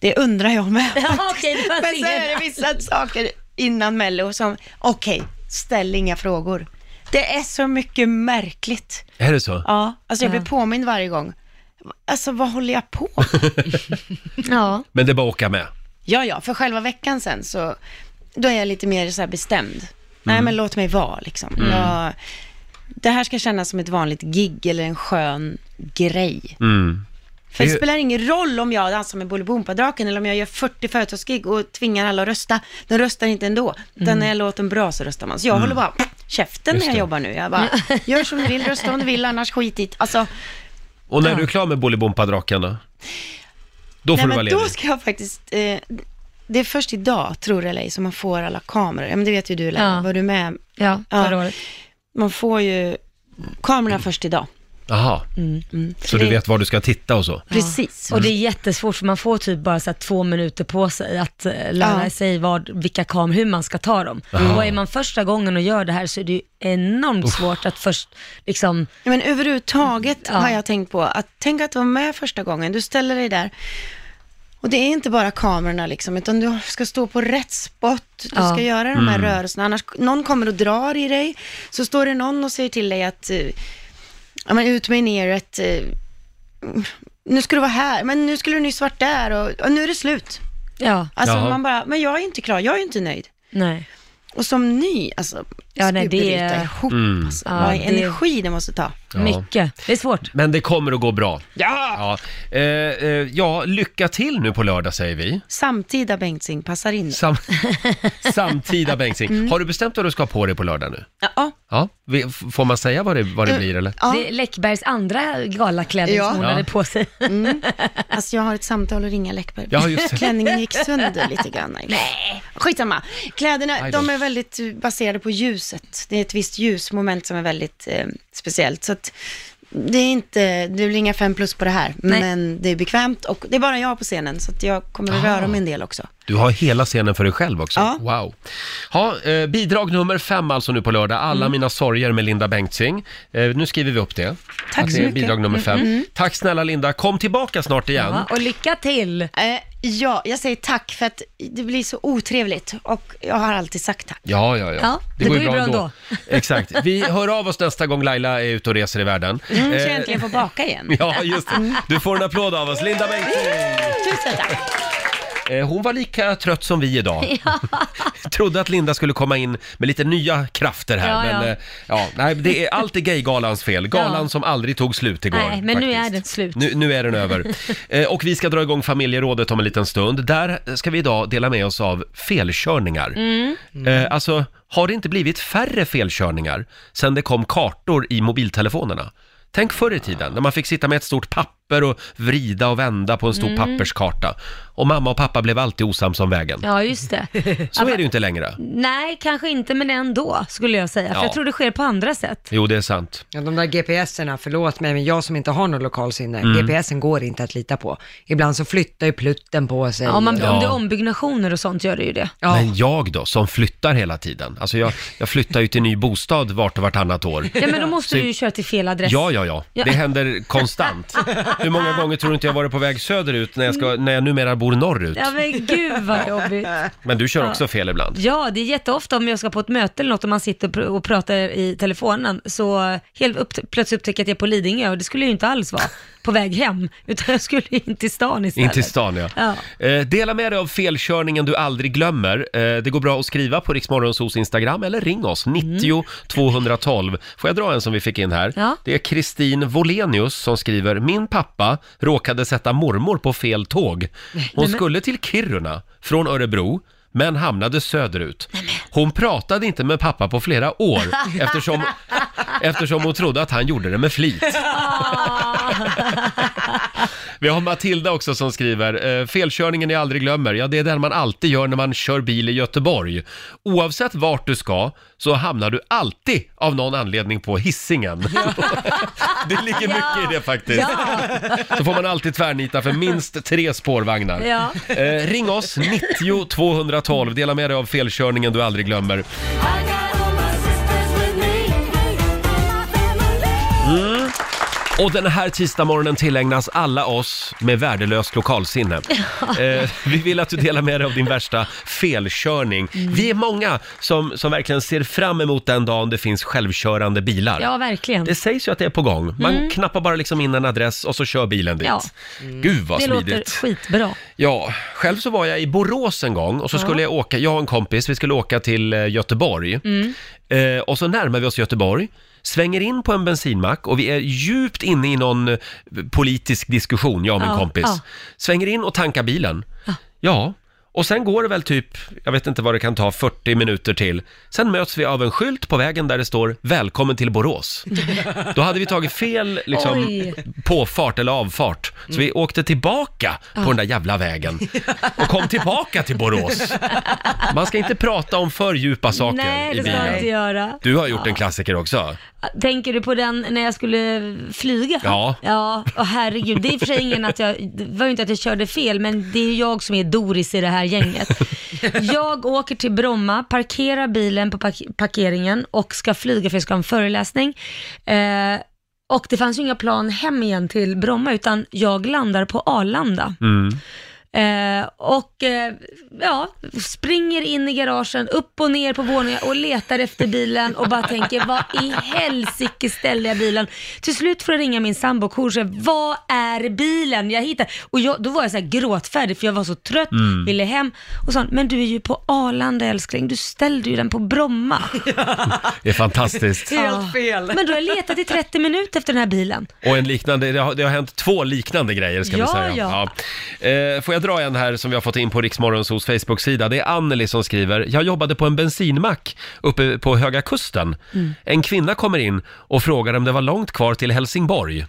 Speaker 8: Det undrar jag med.
Speaker 2: Ja, okej, det fanns
Speaker 8: Men så är det
Speaker 2: ingen...
Speaker 8: vissa saker innan Mello som, okej, ställ inga frågor. Det är så mycket märkligt.
Speaker 1: Är det så?
Speaker 8: Ja, alltså jag blir påmind varje gång. Alltså vad håller jag på med?
Speaker 2: Ja.
Speaker 1: Men det är bara att åka med.
Speaker 8: Ja, ja, för själva veckan sen så, då är jag lite mer så här bestämd. Nej, men låt mig vara liksom. Jag, det här ska kännas som ett vanligt gig eller en skön grej.
Speaker 1: Mm.
Speaker 8: För det
Speaker 1: Det-
Speaker 8: spelar ingen roll om jag dansar med Bolibompa-draken eller om jag gör 40 företagsgig och tvingar alla att rösta. De röstar inte ändå. Utan när jag låter dem bra så röstar man. Så jag håller bara käften när jag jobbar nu. Jag bara, gör som du vill, rösta om du vill, annars skit i det. Alltså,
Speaker 1: Och när du är klar med Bolibompa-draken då? Då får du
Speaker 8: Nej,
Speaker 1: vara
Speaker 8: men
Speaker 1: ledig.
Speaker 8: då ska jag faktiskt... Eh, det är först idag, tror det eller ej, som man får alla kameror. Ja, men det vet ju du, Lena.
Speaker 2: Ja.
Speaker 8: Var du med?
Speaker 2: Ja, förra året.
Speaker 8: Man får ju kamerorna först idag.
Speaker 1: Jaha,
Speaker 2: Mm,
Speaker 1: så du vet var du ska titta och så?
Speaker 8: Precis.
Speaker 2: Och det är jättesvårt för man får typ bara så här två minuter på sig att eh, lära
Speaker 8: Ja.
Speaker 2: sig vad, vilka kameror, hur man ska ta dem. Och är man första gången och gör det här så är det ju enormt svårt att först liksom,
Speaker 8: Ja, Men överhuvudtaget
Speaker 2: Mm, Ja.
Speaker 8: har jag tänkt på att tänk att vara med första gången. Du ställer dig där Och det är inte bara kamerorna liksom, utan du ska stå på rätt spot, du
Speaker 2: Ja.
Speaker 8: ska göra de här
Speaker 1: Mm.
Speaker 8: rörelserna, annars någon kommer och drar i dig, så står det någon och säger till dig att, eh, ja men ut med neret, eh, nu ska du vara här, men nu skulle du nyss varit där och, och nu är det slut.
Speaker 2: Ja,
Speaker 8: Alltså
Speaker 1: Jaha.
Speaker 8: man bara, men jag är inte klar, jag är inte nöjd.
Speaker 2: nej.
Speaker 8: Och som ny, alltså,
Speaker 2: Ja, nej, det
Speaker 8: skubbryta
Speaker 2: är-
Speaker 8: ihop, alltså,
Speaker 2: Ja,
Speaker 8: vad
Speaker 2: det-
Speaker 8: energi det måste ta.
Speaker 1: Mm. Ja.
Speaker 2: Mycket. Det är svårt.
Speaker 1: Men det kommer att gå bra.
Speaker 8: Ja!
Speaker 1: Ja. Eh, eh, ja, lycka till nu på lördag säger vi.
Speaker 8: Samtida Bengtzing passar in.
Speaker 1: Sam samtida Bengtzing.
Speaker 8: Mm.
Speaker 1: Har du bestämt vad du ska ha på dig på lördag nu?
Speaker 8: Ja,
Speaker 1: Ja, vi- f- får man säga vad det, vad
Speaker 8: Eh,
Speaker 1: det blir eller?
Speaker 8: ja.
Speaker 2: Det är Läckbergs andra galakläder
Speaker 8: Ja.
Speaker 2: som hon
Speaker 1: Ja.
Speaker 2: hade på sig.
Speaker 8: Alltså jag har ett samtal att ringa Läckberg.
Speaker 1: Ja, just det.
Speaker 8: Klänningen gick sönder lite grann. Nej. Skitsamma. Kläderna,
Speaker 1: Aj då.
Speaker 8: de är väldigt eh, baserade på ljuset. Det är ett visst ljusmoment som är väldigt eh, speciellt. Så att det är inte, det blir inga fem plus på det här.
Speaker 2: Nej.
Speaker 8: Men det är bekvämt och det är bara jag på scenen. Så att jag kommer att röra mig en del också.
Speaker 1: Du har hela scenen för dig själv också.
Speaker 8: Ja.
Speaker 1: Wow. Ha, eh, bidrag nummer fem alltså nu på lördag, Alla
Speaker 8: Mm.
Speaker 1: mina sorger med Linda Bengtzing. Eh, nu skriver vi upp det.
Speaker 8: Tack
Speaker 1: Att
Speaker 8: så
Speaker 1: det är
Speaker 8: mycket. Mm.
Speaker 1: bidrag nummer fem. Tack snälla Linda, kom tillbaka snart igen.
Speaker 2: Ja, och lycka till!
Speaker 8: Eh, ja, jag säger tack för att det blir så otrevligt. Och jag har alltid sagt tack.
Speaker 1: Ja, ja, ja.
Speaker 2: Ja, det går ju bra ändå.
Speaker 1: Exakt. Vi hör av oss nästa gång Laila är ute och reser i världen.
Speaker 8: Mm, så jag
Speaker 1: Eh,
Speaker 8: äntligen får baka igen. Mm.
Speaker 1: Ja, just det. Du får en applåd av oss, Linda Bengtzing!
Speaker 8: Tusen tack.
Speaker 1: Eh, Hon var lika trött som vi idag. Trodde att Linda skulle komma in med lite nya krafter här,
Speaker 2: Ja,
Speaker 1: men
Speaker 2: ja.
Speaker 1: eh, ja, nej, det är alltid gaygalans fel. Galan
Speaker 2: Ja.
Speaker 1: som aldrig tog slut igår.
Speaker 2: Nej, men nu
Speaker 1: faktiskt.
Speaker 2: är den slut.
Speaker 1: Nu, nu är den över. Eh, Och vi ska dra igång familjerådet om en liten stund. Där ska vi idag dela med oss av felkörningar.
Speaker 2: Mm.
Speaker 1: Eh, Alltså, har det inte blivit färre felkörningar sen det kom kartor i mobiltelefonerna? Tänk förr i tiden när man fick sitta med ett stort papper och vrida och vända på en stor
Speaker 2: Mm.
Speaker 1: papperskarta. Och mamma och pappa blev alltid osams om vägen.
Speaker 2: Ja, Alltså, just det.
Speaker 1: Så är det ju inte längre.
Speaker 2: Nej, kanske inte, men ändå skulle jag säga.
Speaker 1: Ja.
Speaker 2: För jag tror det sker på andra sätt.
Speaker 1: Jo, det är sant.
Speaker 3: Ja, de där GPSerna, förlåt mig, men jag som inte har någon lokalsinne,
Speaker 1: Mm.
Speaker 3: GPSen går inte att lita på. Ibland så flyttar ju plutten på sig.
Speaker 2: Om, man,
Speaker 1: Ja.
Speaker 2: om det är ombyggnationer och sånt gör det ju det.
Speaker 3: Ja.
Speaker 1: Men jag då, som flyttar hela tiden. Alltså jag, jag flyttar ju till ny bostad vart och vartannat år.
Speaker 2: Ja, men då måste du ju köra till fel adress.
Speaker 1: Ja, ja, ja.
Speaker 2: Ja.
Speaker 1: Det händer konstant. Hur många gånger tror du inte jag varit på väg söderut när jag, ska, när jag numera bor norrut?
Speaker 2: Ja, men gud vad jobbigt.
Speaker 1: Men du kör också fel ibland.
Speaker 2: Ja, det är jätteofta om jag ska på ett möte eller något och man sitter och pr- och pratar i telefonen så helt upp, plötsligt upptäcker jag att jag är på Lidingö och det skulle jag ju inte alls vara på väg hem utan jag skulle ju in till stan istället.
Speaker 1: In till stan, ja.
Speaker 2: Ja.
Speaker 1: Eh, dela med dig av felkörningen du aldrig glömmer. Eh, det går bra att skriva på Riksmorgonsos Instagram eller ring oss,
Speaker 2: Mm.
Speaker 1: 90 212. Får jag dra en som vi fick in här?
Speaker 2: Ja.
Speaker 1: Det är Kristin Volenius som skriver, min pappa råkade sätta mormor på fel tåg. Hon skulle till Kiruna från Örebro. Men hamnade söderut. Hon pratade inte med pappa på flera år eftersom, eftersom hon trodde att han gjorde det med flit. Vi har Matilda också som skriver, eh, felkörningen jag aldrig glömmer, ja det är den man alltid gör när man kör bil i Göteborg. Oavsett vart du ska så hamnar du alltid av någon anledning på hissingen. det ligger mycket i det faktiskt. Så får man alltid tvärnita för minst tre spårvagnar.
Speaker 2: Ja.
Speaker 1: Eh, ring oss, 90 212, dela med dig av felkörningen du aldrig glömmer. Mm. Och den här tisdagsmorgonen tillägnas alla oss med värdelöst lokalsinne. Eh, vi vill att du delar med dig av din värsta felkörning.
Speaker 2: Mm.
Speaker 1: Vi är många som, som verkligen ser fram emot den dagen det finns självkörande bilar.
Speaker 2: ja, verkligen. Mm.
Speaker 1: Det sägs ju att det är på gång. Man knappar bara liksom in en adress och så kör bilen dit.
Speaker 2: Ja.
Speaker 1: Gud vad
Speaker 2: Det
Speaker 1: smidigt.
Speaker 2: låter skitbra.
Speaker 1: Ja, själv så var jag i Borås en gång och så skulle jag åka, jag och en kompis, vi skulle åka till eh, Göteborg.
Speaker 2: Mm.
Speaker 1: Eh, och så närmar vi oss Göteborg, svänger in på en bensinmack och vi är djupt inne i någon eh, politisk diskussion, jag och min
Speaker 2: Ja,
Speaker 1: kompis.
Speaker 2: ja.
Speaker 1: Svänger in och tankar bilen. Ja. Och sen går det väl typ, jag vet inte vad det kan ta, 40 minuter till. Sen möts vi av en skylt på vägen där det står “Välkommen till Borås”. Då hade vi tagit fel liksom,
Speaker 2: Oj.
Speaker 1: påfart eller avfart. Så
Speaker 2: Mm.
Speaker 1: vi åkte tillbaka på den där jävla vägen och kom tillbaka till Borås. Man ska inte prata om för djupa saker
Speaker 2: Nej,
Speaker 1: i
Speaker 2: det ska jag inte
Speaker 1: bilen.
Speaker 2: göra.
Speaker 1: Du har gjort en klassiker också.
Speaker 2: Tänker du på den när jag skulle flyga?
Speaker 1: Ja.
Speaker 2: Ja, och herregud. Det är i och för sig ingen att jag, det var ju inte att jag körde fel, men det är ju jag som är Doris i det här gänget. Jag åker till Bromma, parkerar bilen på park- parkeringen och ska flyga för jag ska ha en föreläsning. Eh,
Speaker 1: Mm.
Speaker 2: och det fanns ju inga plan hem igen till Bromma, utan jag landar på Arlanda. Eh, och eh, ja, springer in i garagen, upp och ner på våningar och letar efter bilen och bara tänker, vad i helsike ställde jag bilen? Till slut får jag ringa min sambo och hon säger, vad är bilen jag hittar? Och jag, då var jag så här gråtfärdig för jag var så trött,
Speaker 1: Mm.
Speaker 2: ville hem och sa, men du är ju på Arlanda älskling, du ställde ju den på Bromma.
Speaker 1: Det är fantastiskt.
Speaker 2: Helt fel. Men då har jag letat i 30 minuter efter den här bilen.
Speaker 1: Och en liknande, det har, det har hänt två liknande grejer ska
Speaker 2: Ja,
Speaker 1: vi säga.
Speaker 2: ja.
Speaker 1: Ja. Eh, får jag dra en här som vi har fått in på Riksmorgonsos Facebook-sida. Det är Anneli som skriver, jag jobbade på en bensinmack uppe på Höga Kusten.
Speaker 2: Mm.
Speaker 1: En kvinna kommer in och frågar om det var långt kvar till Helsingborg.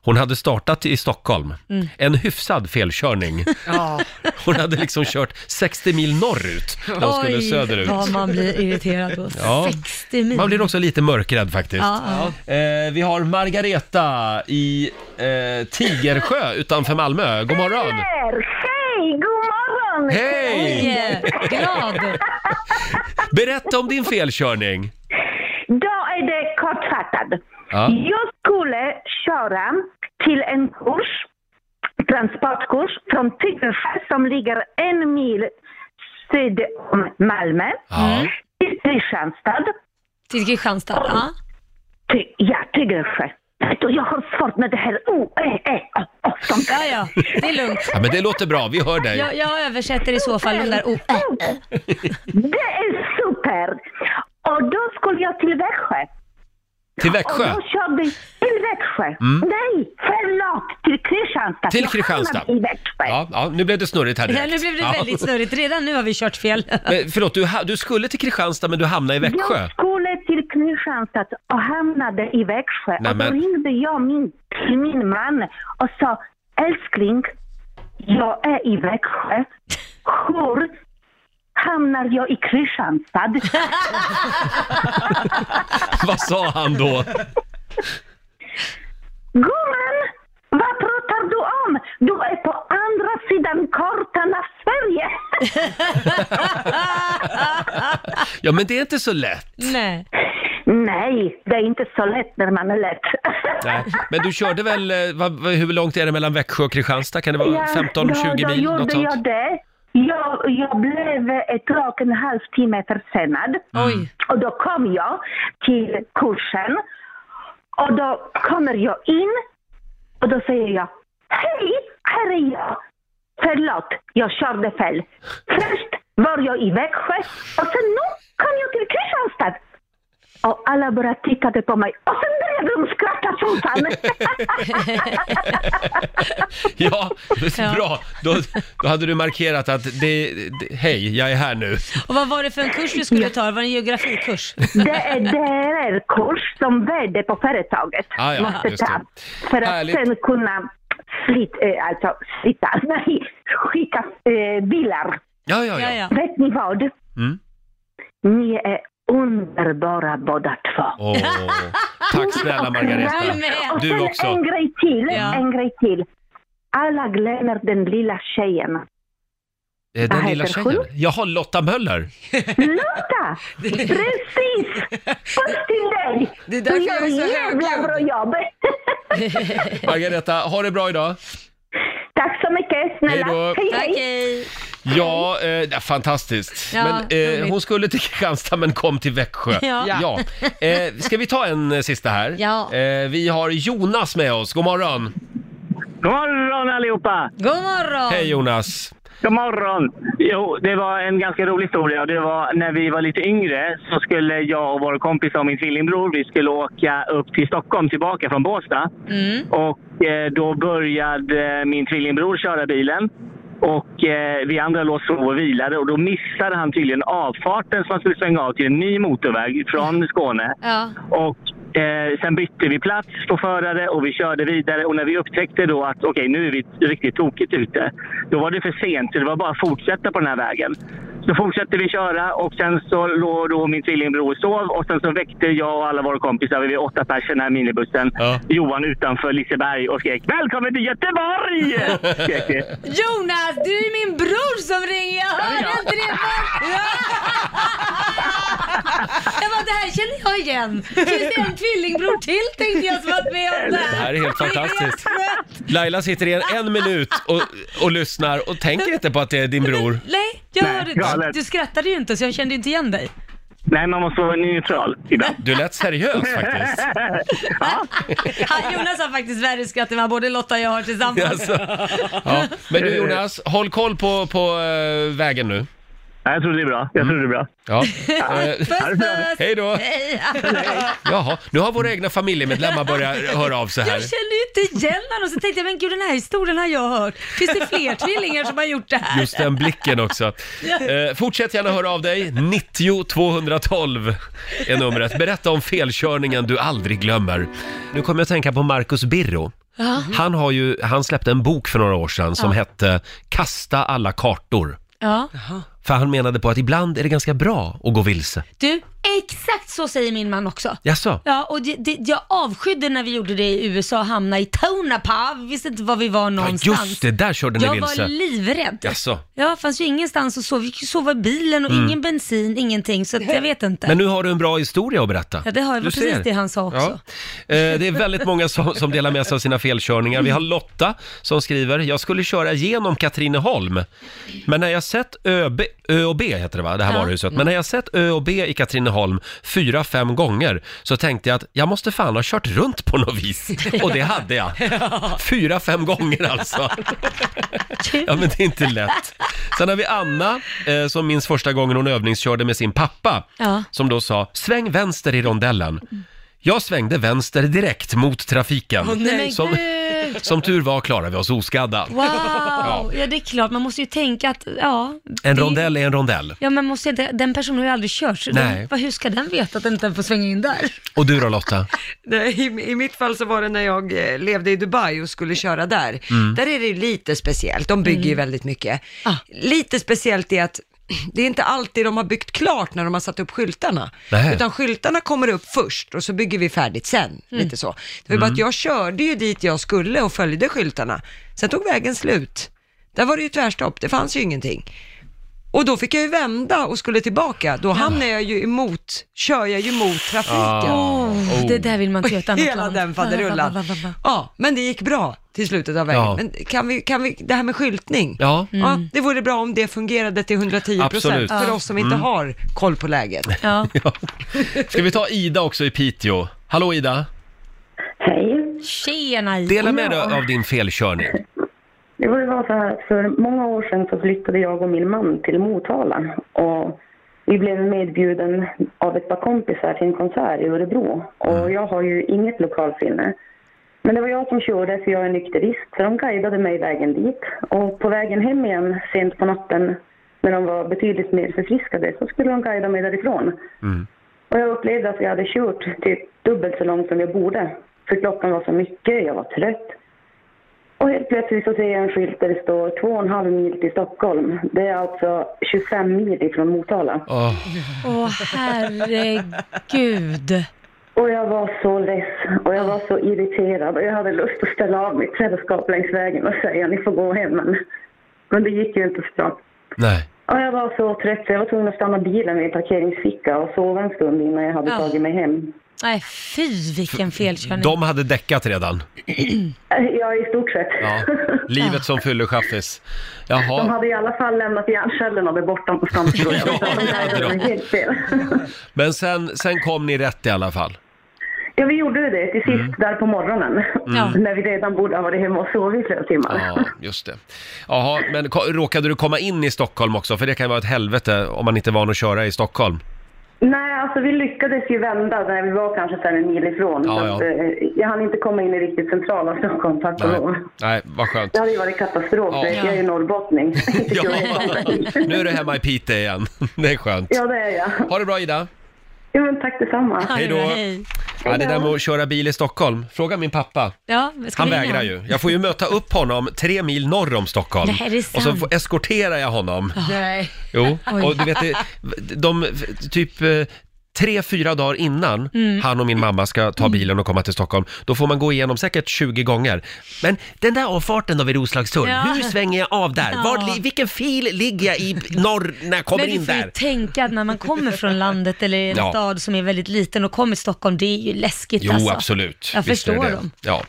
Speaker 1: Hon hade startat i Stockholm.
Speaker 2: Mm.
Speaker 1: En hyfsad felkörning.
Speaker 3: Ja.
Speaker 1: Hon hade liksom kört 60 mil norrut när hon skulle söderut.
Speaker 2: vad man blir irriterad på.
Speaker 1: Ja.
Speaker 2: 60 mil.
Speaker 1: Man blir också lite mörkrädd faktiskt.
Speaker 2: Ja, ja.
Speaker 1: Eh, vi har Margareta i eh, Tigersjö utanför Malmö. God morgon!
Speaker 9: Hej, god morgon!
Speaker 1: Hej!
Speaker 2: Yeah. Glad.
Speaker 1: Berätta om din felkörning.
Speaker 9: Då är det kortfattat.
Speaker 1: Ja.
Speaker 9: Jag skulle köra till en kurs, transportkurs från Tyresö som ligger en mil syd om Malmö
Speaker 1: Ja.
Speaker 9: till Kristianstad.
Speaker 2: Mm. Till Kristianstad. Ja.
Speaker 9: Ty, ja, Tyresö. Vet du, Jag har svårt med det här o, e, e, o, o, som
Speaker 2: ja, ja, det är lugnt.
Speaker 1: ja, men det låter bra. Vi hör dig.
Speaker 2: Jag, jag översätter i så fall den där oh, äh.
Speaker 9: Det är super! Och då skulle jag till Växjö.
Speaker 1: Till
Speaker 9: Och
Speaker 1: Växjö. Mm.
Speaker 9: då körde vi till Växjö. Nej, förlåt! Till Kristianstad.
Speaker 1: Till
Speaker 9: Jag
Speaker 1: Kristianstad.
Speaker 9: hamnade I Växjö.
Speaker 1: Ja, ja, nu blev det snurrigt här
Speaker 2: Ja,
Speaker 1: direkt.
Speaker 2: nu blev det
Speaker 1: Ja.
Speaker 2: väldigt snurrigt. Redan nu har vi kört fel.
Speaker 1: Men förlåt, du, ha- du skulle till Kristianstad men du hamnade i Växjö.
Speaker 9: Jag skulle till Kristianstad och hamnade i Växjö.
Speaker 1: Nämen.
Speaker 9: Och då ringde jag min, till min man och sa älskling, jag är i Växjö. Hur hamnar jag i Kristianstad?
Speaker 1: Vad sa han då?
Speaker 9: Gumman, vad pratar du om? Du är på andra sidan kartan av Sverige.
Speaker 1: Ja, men det är inte så lätt.
Speaker 2: Nej.
Speaker 9: Nej, det är inte så lätt när man är lätt.
Speaker 1: Nej. Men du körde väl, eh, vad, vad- hur långt är det mellan Växjö och Kristianstad? Kan det vara
Speaker 9: ja, då
Speaker 1: 15-20 mil?
Speaker 9: gjorde
Speaker 1: Något sånt?
Speaker 9: jag det. Jag, jag blev ett och en halv timme försenad.
Speaker 1: Mm.
Speaker 2: Oj.
Speaker 9: Och då kom jag till kursen. Och då kommer jag in och då säger jag Hej, här är jag. Förlåt, jag körde fel. Först var jag i Växjö och sen nu kom jag till Kristianstad. Och alla bara tittade på mig och sen började de skratta som fan.
Speaker 1: Ja,
Speaker 2: Ja.
Speaker 1: bra. Då, då hade du markerat att det, det, hej, jag är här nu.
Speaker 2: Och vad var det för en kurs du skulle ta? Var det en geografikurs?
Speaker 9: Det är DRR-kurs som värde på företaget
Speaker 1: Ah, ja, just
Speaker 9: måste ta.
Speaker 1: det.
Speaker 9: För att
Speaker 1: Härligt.
Speaker 9: sen kunna flit, eh, alltså, flytta, nej, skicka eh, bilar.
Speaker 1: Ja, ja,
Speaker 2: Ja,
Speaker 1: ja.
Speaker 2: ja.
Speaker 9: Vet ni vad?
Speaker 1: Mm.
Speaker 9: Ni är underbara båda två.
Speaker 1: Åh, tack snälla Margareta.
Speaker 2: Kram. med.
Speaker 9: Och
Speaker 1: Du
Speaker 9: sen
Speaker 1: också.
Speaker 9: en grej till,
Speaker 2: Ja.
Speaker 9: en grej till. Alla glömmer den lilla tjejen.
Speaker 1: Eh, Den
Speaker 9: Vad
Speaker 1: lilla
Speaker 9: heter
Speaker 1: tjejen.
Speaker 9: hon?
Speaker 1: Jaha, Lotta Möller.
Speaker 9: Lotta! Precis! Puss till dig!
Speaker 3: Det är därför
Speaker 9: Du
Speaker 3: jag är
Speaker 9: gör
Speaker 3: så
Speaker 9: ett
Speaker 3: högljudd.
Speaker 9: jävla bra jobb.
Speaker 1: Margareta, ha det bra idag.
Speaker 9: Tack så mycket, snälla.
Speaker 1: Hej då.
Speaker 9: Hej,
Speaker 2: Tack,
Speaker 9: hej.
Speaker 2: hej.
Speaker 1: Ja, eh, ja, fantastiskt.
Speaker 2: Ja,
Speaker 1: men, eh,
Speaker 2: roligt.
Speaker 1: hon skulle till Kristianstad men kom till Växjö.
Speaker 2: Ja.
Speaker 1: ja. Eh, ska vi ta en eh, sista här?
Speaker 2: Ja.
Speaker 1: Eh, vi har Jonas med oss. God morgon.
Speaker 10: God morgon allihopa!
Speaker 2: God morgon.
Speaker 1: Hej Jonas.
Speaker 10: God morgon! Jo, det var en ganska rolig historia. Det var när vi var lite yngre så skulle jag och vår kompis och min tvillingbror, vi skulle åka upp till Stockholm tillbaka från Båstad. Och eh, då började eh, min tvillingbror köra bilen. Och eh, vi andra låg och sov och vilade och då missade han tydligen avfarten som han skulle svänga av till en ny motorväg från Skåne.
Speaker 2: Ja.
Speaker 10: Och eh, sen bytte vi plats på förare och vi körde vidare. Och när vi upptäckte då att okej, nu är vi riktigt tokigt ute. Då var det för sent, så det var bara att fortsätta på den här vägen. Så fortsatte vi köra och sen så låg då min tvillingbror och sov och sen så väckte jag och alla våra kompisar, vi var åtta pers i den här minibussen,
Speaker 1: Ja.
Speaker 10: Johan utanför Liseberg och skrek “Välkommen till Göteborg!” skrek vi.
Speaker 2: Jonas, du är min bror som ringer. Jag hörde inte det först. Jag bara, det här känner jag igen. Finns det en tvillingbror till tänkte jag som varit med om det här.
Speaker 1: Det här är helt fantastiskt. Laila sitter i en, en minut och, och lyssnar och tänker inte på att det är din bror.
Speaker 2: Nej, jag
Speaker 10: Nej,
Speaker 2: hörde inte.
Speaker 10: galet.
Speaker 2: Du skrattade ju inte så jag kände inte igen dig.
Speaker 10: Nej, man måste vara neutral ibland.
Speaker 1: Du lät seriös faktiskt.
Speaker 2: Han, Jonas har faktiskt värre skratt än vad både Lotta och jag har tillsammans.
Speaker 1: Alltså. Ja. Men du Jonas, håll koll på, på eh, vägen nu.
Speaker 10: Nej, jag tror det är bra. Jag tror det är bra.
Speaker 1: Ja. Eh,
Speaker 2: Puss puss!
Speaker 1: Hej då!
Speaker 2: Hej.
Speaker 1: Jaha, nu har våra egna familjemedlemmar börjat höra av sig här.
Speaker 2: Jag kände ju inte igen honom, så tänkte jag, men gud den här historien har jag hört. Finns det fler tvillingar som har gjort det här?
Speaker 1: Just den blicken också. Eh, fortsätt gärna höra av dig. 90 212 är numret. Berätta om felkörningen du aldrig glömmer. Nu kommer jag att tänka på Marcus Birro. Han, har ju, han släppte en bok för några år sedan som hette Kasta alla kartor.
Speaker 2: Ja.
Speaker 1: För han menade på att ibland är det ganska bra att gå vilse.
Speaker 2: Du, exakt så säger min man också.
Speaker 1: Jaså?
Speaker 2: Ja, och det, det, jag avskydde när vi gjorde det i USA och hamnade i Tonapa. Vi visste inte var vi var
Speaker 1: Ja,
Speaker 2: någonstans.
Speaker 1: just det, där körde ni
Speaker 2: jag var
Speaker 1: vilse.
Speaker 2: livrädd.
Speaker 1: Jaså? Mm.
Speaker 2: Ja, fanns ju ingenstans att sova. Vi fick ju sova i bilen och ingen bensin, ingenting. Så att jag vet inte.
Speaker 1: Men nu har du en bra historia att berätta.
Speaker 2: Ja, det har jag.
Speaker 1: Du
Speaker 2: Precis
Speaker 1: ser.
Speaker 2: det han sa också.
Speaker 1: Ja. Eh, Det är väldigt många som, som delar med sig av sina felkörningar. Vi har Lotta som skriver, jag skulle köra genom Katrineholm, men när jag sett ÖB, ÖoB heter det va, det här
Speaker 2: Ja. Mm.
Speaker 1: varuhuset, men när jag sett ÖoB i Katrineholm fyra, fem gånger så tänkte jag att jag måste fan ha kört runt på något vis. Och det hade jag. Fyra, fem gånger alltså. Ja, men det är inte lätt. Sen har vi Anna eh, som minns första gången hon övningskörde med sin pappa.
Speaker 2: Ja.
Speaker 1: Som då sa, sväng vänster i rondellen. Jag svängde vänster direkt mot trafiken.
Speaker 8: nej.
Speaker 1: som, som tur var klarade vi oss oskadda.
Speaker 2: Wow! Ja. det är klart. Man måste ju tänka att, ja.
Speaker 1: En
Speaker 2: det-
Speaker 1: rondell är en rondell.
Speaker 2: Ja, men måste inte, den personen har ju aldrig kört. så
Speaker 1: Nej.
Speaker 2: Den, vad- hur ska den veta att den inte får svänga in där?
Speaker 1: Och du då Lotta?
Speaker 3: Nej, i, I mitt fall så var det när jag eh, levde i Dubai och skulle köra där. Där är det ju lite speciellt, de bygger ju väldigt mycket.
Speaker 2: Mm. Ah.
Speaker 3: Lite speciellt är att det är inte alltid de har byggt klart när de har satt upp skyltarna.
Speaker 1: Nej.
Speaker 3: Utan skyltarna kommer upp först och så bygger vi färdigt sen.
Speaker 2: Mm.
Speaker 3: Lite så. Det var ju bara att jag körde ju dit jag skulle och följde skyltarna. Sen tog vägen slut. Där var det ju tvärstopp, det fanns ju ingenting. Och då fick jag ju vända och skulle tillbaka. Då hamnade jag ju emot, kör jag ju mot trafiken.
Speaker 1: Ah.
Speaker 2: Oh, Det där vill man inte göra ett annat
Speaker 3: Hela
Speaker 2: land.
Speaker 3: den
Speaker 2: Va,
Speaker 3: faderullan.
Speaker 2: va, va, va, va.
Speaker 3: Ja, men det gick bra till slutet av vägen.
Speaker 1: Ja.
Speaker 3: Men kan vi, kan vi, det här med skyltning.
Speaker 1: Ja.
Speaker 3: Ja,
Speaker 2: Mm.
Speaker 3: det vore bra om det fungerade till
Speaker 1: Absolut.
Speaker 3: 110
Speaker 1: Mm.
Speaker 3: procent för oss som inte har koll på läget.
Speaker 2: Ja.
Speaker 1: Ja. Ska vi ta Ida också i Piteå? Hallå Ida!
Speaker 11: Hej.
Speaker 2: Tjena Ida.
Speaker 1: Dela med dig av din felkörning.
Speaker 11: Det var ju bara så här, för många år sedan så flyttade jag och min man till Motala och vi blev medbjuden av ett par kompisar till en konsert i Örebro
Speaker 1: Mm.
Speaker 11: och jag har ju inget lokalsinne. Men det var jag som körde för jag är nykterist så de guidade mig vägen dit och på vägen hem igen sent på natten när de var betydligt mer förfriskade så skulle de guida mig därifrån.
Speaker 1: Mm.
Speaker 11: Och jag upplevde att jag hade kört typ dubbelt så långt som jag borde för klockan var så mycket, jag var trött. Och helt plötsligt så ser jag en skylt där det står två och en halv mil till Stockholm. Det är alltså 25 mil ifrån Motala.
Speaker 1: Åh,
Speaker 2: Åh herregud.
Speaker 11: Och jag var så less och jag var så irriterad och jag hade lust att ställa av mitt sällskap längs vägen och säga ni får gå hem. Men, men det gick ju inte så bra.
Speaker 1: nej.
Speaker 11: Och jag var så trött så jag var tvungen att stanna bilen vid en parkeringsficka och sova en stund innan jag hade
Speaker 2: Ja.
Speaker 11: tagit mig hem.
Speaker 2: Nej fy vilken felkörning.
Speaker 1: De hade däckat redan.
Speaker 11: Äh, Ja, i stort sett.
Speaker 1: Ja. Livet som fyllechaffis. Jaha.
Speaker 11: De hade i alla fall lämnat hjärncellerna där borta någonstans. tror jag.
Speaker 1: Ja, det hade de.
Speaker 11: de. Helt fel.
Speaker 1: Men sen, sen kom ni rätt i alla fall.
Speaker 11: Ja, vi gjorde ju det till sist
Speaker 1: Mm.
Speaker 11: där på morgonen.
Speaker 2: Ja.
Speaker 11: När vi redan borde ha varit hemma och sovit i flera timmar.
Speaker 1: Ja, just det. Jaha, men ko- råkade du komma in i Stockholm också? För det kan ju vara ett helvete om man inte är van att köra i Stockholm.
Speaker 11: Nej, alltså vi lyckades ju vända när vi var kanske sen en mil ifrån.
Speaker 1: Ja,
Speaker 11: så
Speaker 1: ja.
Speaker 11: att, eh, jag hann inte komma in i riktigt centrala Stockholm, tack och
Speaker 1: Nej,
Speaker 11: lov.
Speaker 1: Nej vad skönt.
Speaker 11: Det hade ju varit katastrof,
Speaker 1: Ja.
Speaker 11: för jag är ju norrbottning. Inte
Speaker 1: Ja,
Speaker 11: kul att komma hit.
Speaker 1: nu är du hemma i Piteå igen. Det är skönt.
Speaker 11: ja, det är jag.
Speaker 1: Ha det bra Ida.
Speaker 11: Jo, men tack detsamma.
Speaker 2: Ja, det
Speaker 1: Hej då.
Speaker 2: var hej.
Speaker 1: Ja, det där med att köra bil i Stockholm, fråga min pappa.
Speaker 2: Ja, ska
Speaker 1: Han
Speaker 2: vi ringa
Speaker 1: vägrar
Speaker 2: honom?
Speaker 1: ju. Jag får ju möta upp honom tre mil norr om Stockholm.
Speaker 2: Nej, det är sant.
Speaker 1: Och så får- eskorterar jag honom.
Speaker 3: Nej.
Speaker 1: Jo,
Speaker 2: Oj.
Speaker 1: och du vet, det- de, typ eh, tre, fyra dagar innan
Speaker 2: Mm.
Speaker 1: han och min mamma ska ta bilen och komma till Stockholm, då får man gå igenom säkert 20 gånger. Men den där avfarten då vid Roslagstull,
Speaker 2: Ja.
Speaker 1: hur svänger jag av där?
Speaker 2: Ja.
Speaker 1: Var, li- vilken fil ligger jag i norr när jag kommer
Speaker 2: Men
Speaker 1: in
Speaker 2: du får ju
Speaker 1: där?
Speaker 2: tänka att när man kommer från landet eller en
Speaker 1: Ja.
Speaker 2: stad som är väldigt liten och kommer till Stockholm, det är ju läskigt
Speaker 1: Jo,
Speaker 2: alltså.
Speaker 1: absolut.
Speaker 2: Jag
Speaker 1: Visst är det
Speaker 2: förstår
Speaker 1: det.
Speaker 2: dem.
Speaker 1: Ja.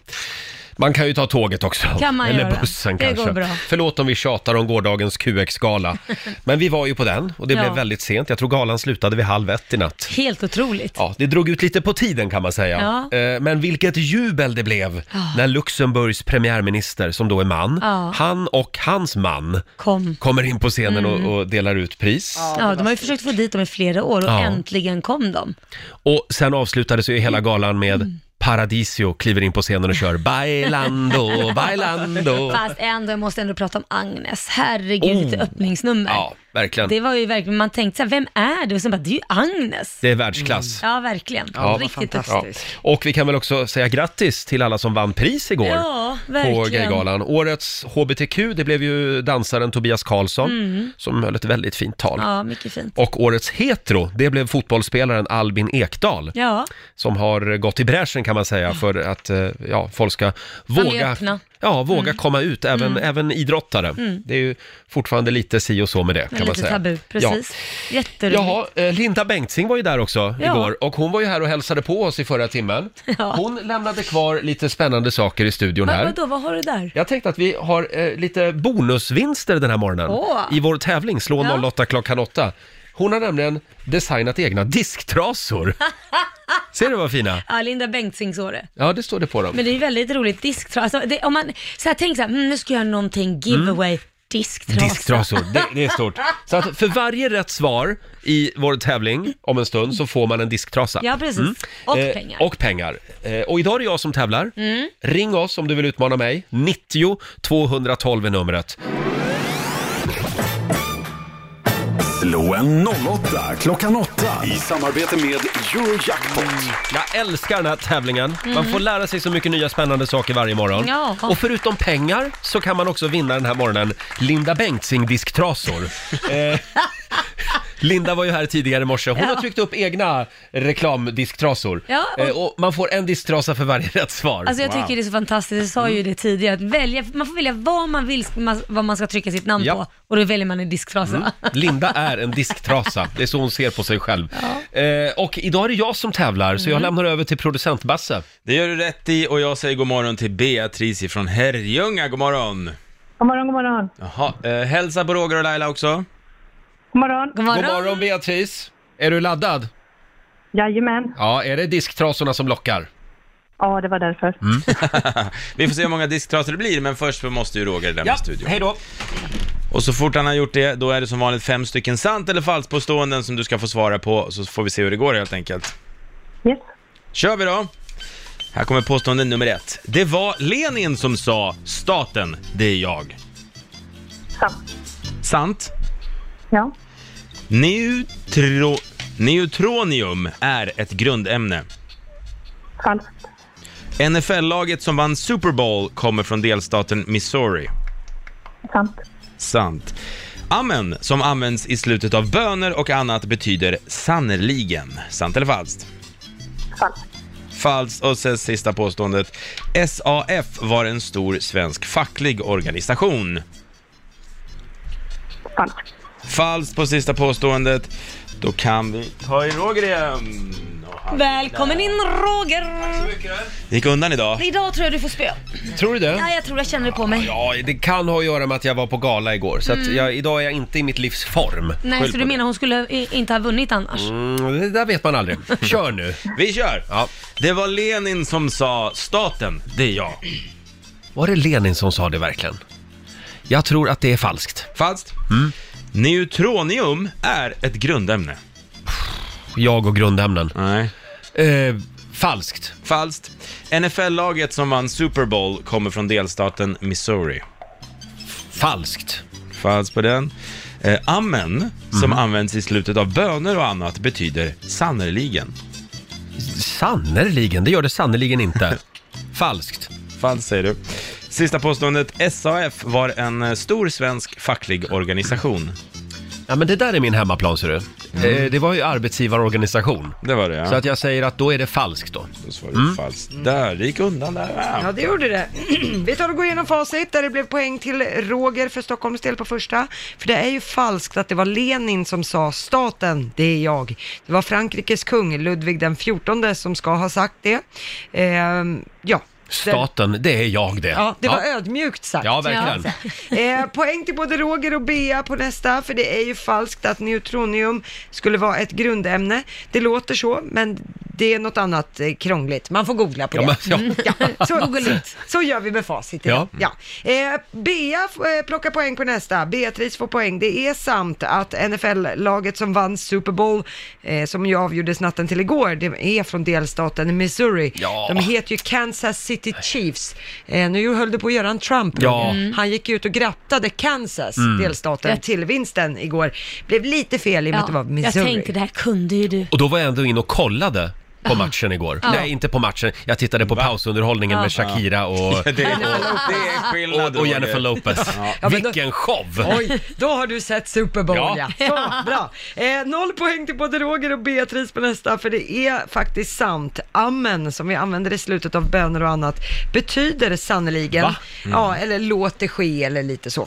Speaker 1: Man kan ju ta tåget också.
Speaker 2: Kan man
Speaker 1: Eller
Speaker 2: göra.
Speaker 1: bussen
Speaker 2: Det går
Speaker 1: kanske.
Speaker 2: bra.
Speaker 1: Förlåt om vi tjatar om gårdagens QX-gala. Men vi var ju på den och det
Speaker 2: Ja.
Speaker 1: blev väldigt sent. Jag tror galan slutade vid halv ett i natt.
Speaker 2: Helt otroligt.
Speaker 1: Ja, det drog ut lite på tiden kan man säga.
Speaker 2: Ja. Ah.
Speaker 1: Eh, Men vilket jubel det blev när Luxemburgs premiärminister, som då är man,
Speaker 2: Ja.
Speaker 1: han och hans man
Speaker 2: Ah. Kom. Mm.
Speaker 1: kommer in på scenen och, och delar ut pris.
Speaker 2: Ja, de har ju försökt få dit dem i flera år och
Speaker 1: Ja.
Speaker 2: äntligen kom de.
Speaker 1: Och sen avslutades ju hela galan med
Speaker 2: Mm.
Speaker 1: Paradisio kliver in på scenen och kör Bailando, bailando. Oh.
Speaker 2: Fast ändå, jag måste ändå prata om Agnes. Herregud, vilket öppningsnummer.
Speaker 1: Ja, verkligen.
Speaker 2: Det var ju verkligen, man tänkte så här, vem är det? Och sen bara, det är ju Agnes.
Speaker 1: Det är världsklass.
Speaker 2: Mm. Ja, verkligen.
Speaker 1: Ja, vad
Speaker 2: Riktigt
Speaker 1: Ja.
Speaker 2: duktigt.
Speaker 1: Och vi kan väl också säga grattis till alla som vann pris igår
Speaker 2: Ja,
Speaker 1: på
Speaker 2: verkligen.
Speaker 1: Gaygalan. Årets HBTQ, det blev ju dansaren Tobias Karlsson som höll ett väldigt fint tal.
Speaker 2: Mm. Ja, mycket fint.
Speaker 1: Och årets hetero, det blev fotbollsspelaren Albin Ekdal
Speaker 2: Ja,
Speaker 1: som har gått i bräschen kan man säga för att eh, ja, folk ska våga,
Speaker 2: öppna. Mm.
Speaker 1: ja, våga komma ut, även, även idrottare. Det är ju fortfarande lite si och så med det kan
Speaker 2: men
Speaker 1: man
Speaker 2: lite
Speaker 1: säga.
Speaker 2: tabu. Precis.
Speaker 1: Ja.
Speaker 2: Jätteroligt.
Speaker 1: Jaha, eh, Linda Bengtzing var ju där också
Speaker 2: Ja.
Speaker 1: igår och hon var ju här och hälsade på oss i förra timmen.
Speaker 2: Ja.
Speaker 1: Hon lämnade kvar lite spännande saker i studion
Speaker 2: Vad,
Speaker 1: här.
Speaker 2: vadå, vad har du där?
Speaker 1: Jag tänkte att vi har eh, lite bonusvinster den här morgonen
Speaker 2: Åh.
Speaker 1: i vår tävling Slå
Speaker 2: Ja.
Speaker 1: 08 klockan 8. Hon har nämligen designat egna disktrasor. Ser du vad fina?
Speaker 2: Ja, Linda Bengtzing så det.
Speaker 1: Ja, det står det på dem.
Speaker 2: Men det är ju väldigt roligt, disktrasa. Alltså, det, om man så här, tänk så här, mm, nu ska jag göra någonting
Speaker 1: Mm.
Speaker 2: giveaway, disktrasa.
Speaker 1: Disktrasor, det, det är stort. Så att för varje rätt svar i vår tävling om en stund så får man en disktrasa.
Speaker 2: Ja, precis. Och
Speaker 1: Eh,
Speaker 2: pengar. Mm.
Speaker 1: Och pengar. Eh, och idag är det jag som tävlar. Ring oss om du vill utmana mig. 90 212 är numret.
Speaker 4: Slå en 08 klockan 8 i samarbete med Eurojackpot.
Speaker 1: Jag älskar den här tävlingen. Man får lära sig så mycket nya spännande saker varje morgon.
Speaker 2: Mhm. Ja.
Speaker 1: Och förutom pengar så kan man också vinna den här morgonen Linda Bengtzing disktrasor. eh, Linda var ju här tidigare i morse. Hon har tryckt upp egna reklamdisktrasor.
Speaker 2: Ja, och-
Speaker 1: Eh, och man får en disktrasa för varje rätt svar.
Speaker 2: Alltså jag tycker det är så fantastiskt, jag sa ju det tidigare, att välja, man får välja vad man vill, man- vad man ska trycka sitt namn
Speaker 1: Ja. Mm.
Speaker 2: på och då väljer man en disktrasa.
Speaker 1: Linda är en disktrasa. Det är så hon ser på sig själv. Eh, och idag är det jag som tävlar, så
Speaker 2: Mm.
Speaker 1: jag lämnar över till producent Basse.
Speaker 5: Det gör du rätt i och jag säger god morgon till Beatrice från Herrljunga. God morgon!
Speaker 9: God morgon, god morgon.
Speaker 5: Jaha, eh, hälsa på Roger och Laila också.
Speaker 9: God morgon.
Speaker 2: God morgon.
Speaker 1: God morgon Beatrice! Är du laddad?
Speaker 9: Jajamän.
Speaker 1: Ja, är det disktrasorna som lockar?
Speaker 9: Ja, det var därför.
Speaker 5: Vi får se hur många disktrasor det blir, men först måste ju Roger lämna studion.
Speaker 1: hej då!
Speaker 5: Och så fort han har gjort det, då är det som vanligt fem stycken sant eller falskt påståenden som du ska få svara på, så får vi se hur det går helt enkelt.
Speaker 9: Yes.
Speaker 5: Kör vi då! Här kommer påstående nummer ett. Det var Lenin som sa “Staten, det är jag”.
Speaker 9: Sant.
Speaker 5: Sant.
Speaker 9: Ja.
Speaker 5: Neutro... Neutronium är ett grundämne.
Speaker 9: Falskt.
Speaker 5: NFL-laget som vann Super Bowl kommer från delstaten Missouri.
Speaker 9: Sant.
Speaker 5: Sant. Amen, som används i slutet av böner och annat, betyder sannerligen. Sant eller falskt?
Speaker 9: Falskt.
Speaker 5: Falskt. Och sen sista påståendet. SAF var en stor svensk facklig organisation.
Speaker 9: Falskt.
Speaker 5: Falskt på sista påståendet. Då kan vi ta i Roger igen. Och han-
Speaker 2: Välkommen in Roger!
Speaker 5: Det gick undan idag.
Speaker 2: Idag tror jag du får spö.
Speaker 1: Tror du det?
Speaker 2: Ja, jag tror jag känner det på mig.
Speaker 1: Ja, det kan ha att göra med att jag var på gala igår, så att jag, idag är jag inte i mitt livs form.
Speaker 2: Nej,
Speaker 5: skyll
Speaker 2: så
Speaker 5: på
Speaker 2: du menar hon skulle i- inte ha vunnit annars?
Speaker 1: Mm, det där vet man aldrig. Kör nu!
Speaker 5: Vi kör!
Speaker 1: Ja.
Speaker 5: Det var Lenin som sa staten, det är jag.
Speaker 1: Var det Lenin som sa det verkligen? Jag tror att det är falskt. Mm.
Speaker 5: Falskt. Neutronium är ett grundämne.
Speaker 1: Jag och grundämnen.
Speaker 5: Nej.
Speaker 1: Eh, falskt.
Speaker 5: Falskt. NFL-laget som vann Super Bowl kommer från delstaten Missouri.
Speaker 1: Falskt. Mhm.
Speaker 5: Falskt på den. Eh, amen, som används i slutet av böner och annat, betyder sannerligen.
Speaker 1: Sannerligen, det gör det sannerligen inte. Falskt.
Speaker 5: Falskt säger du. Sista påståendet. SAF var en eh, stor svensk facklig organisation. Mm.
Speaker 1: Ja, men det där är min hemmaplan, ser du. Eh, Det var ju arbetsgivarorganisation.
Speaker 5: Det var det ja.
Speaker 1: Så att jag säger att då är det falskt då. Mm.
Speaker 5: Så var det falskt. Där, det gick undan där.
Speaker 3: Ja, det gjorde det. Vi tar och går igenom facit där det blev poäng till Roger för Stockholms del på första. För det är ju falskt att det var Lenin som sa staten, det är jag. Det var Frankrikes kung Ludvig den XIV som ska ha sagt det. Ehm, ja.
Speaker 1: Staten, det är jag det.
Speaker 3: Ja, det var ödmjukt sagt.
Speaker 1: Ja, verkligen.
Speaker 2: Ja.
Speaker 3: Eh, poäng till både Roger och Bea på nästa, för det är ju falskt att neutronium skulle vara ett grundämne. Det låter så, men det är något annat eh, krångligt. Man får googla på
Speaker 1: Ja,
Speaker 3: det. Mm.
Speaker 1: men, ja.
Speaker 3: Ja, så, så gör vi med facit. idag. Ja. Eh, Bea eh, plockar poäng på nästa. Beatrice får poäng. Det är sant att NFL-laget som vann Super Bowl, eh, som ju avgjordes natten till igår, det är från delstaten Missouri.
Speaker 1: Ja.
Speaker 3: De heter ju Kansas City Chiefs. Eh, nu höll du på att göra en Trump.
Speaker 1: Ja.
Speaker 2: Mm.
Speaker 3: Han gick ut och grattade Kansas,
Speaker 1: Mm.
Speaker 3: delstaten,
Speaker 2: Rätt.
Speaker 3: till vinsten igår. Blev lite fel i och med att det var
Speaker 2: jag
Speaker 3: Missouri.
Speaker 2: tänkte det här kunde ju du.
Speaker 1: Och då var jag ändå in och kollade
Speaker 3: Ah.
Speaker 1: på matchen igår. Nej, inte på matchen. Jag tittade på pausunderhållningen
Speaker 2: Ja.
Speaker 3: Ah.
Speaker 1: med Shakira och,
Speaker 5: Det, är- det är skillnad
Speaker 1: och, och Jennifer
Speaker 5: Roger.
Speaker 1: Lopez.
Speaker 3: Ja, men då-
Speaker 1: Vilken show!
Speaker 3: Oj, då har du sett Super Bowl ja.
Speaker 1: Ja.
Speaker 3: Så, bra. Eh, noll poäng till både Roger och Beatrice på nästa, för det är faktiskt sant. Amen, som vi använder i slutet av böner och annat, betyder sannoliken.
Speaker 1: Va? Mm.
Speaker 3: Ja, eller låt det ske eller lite så.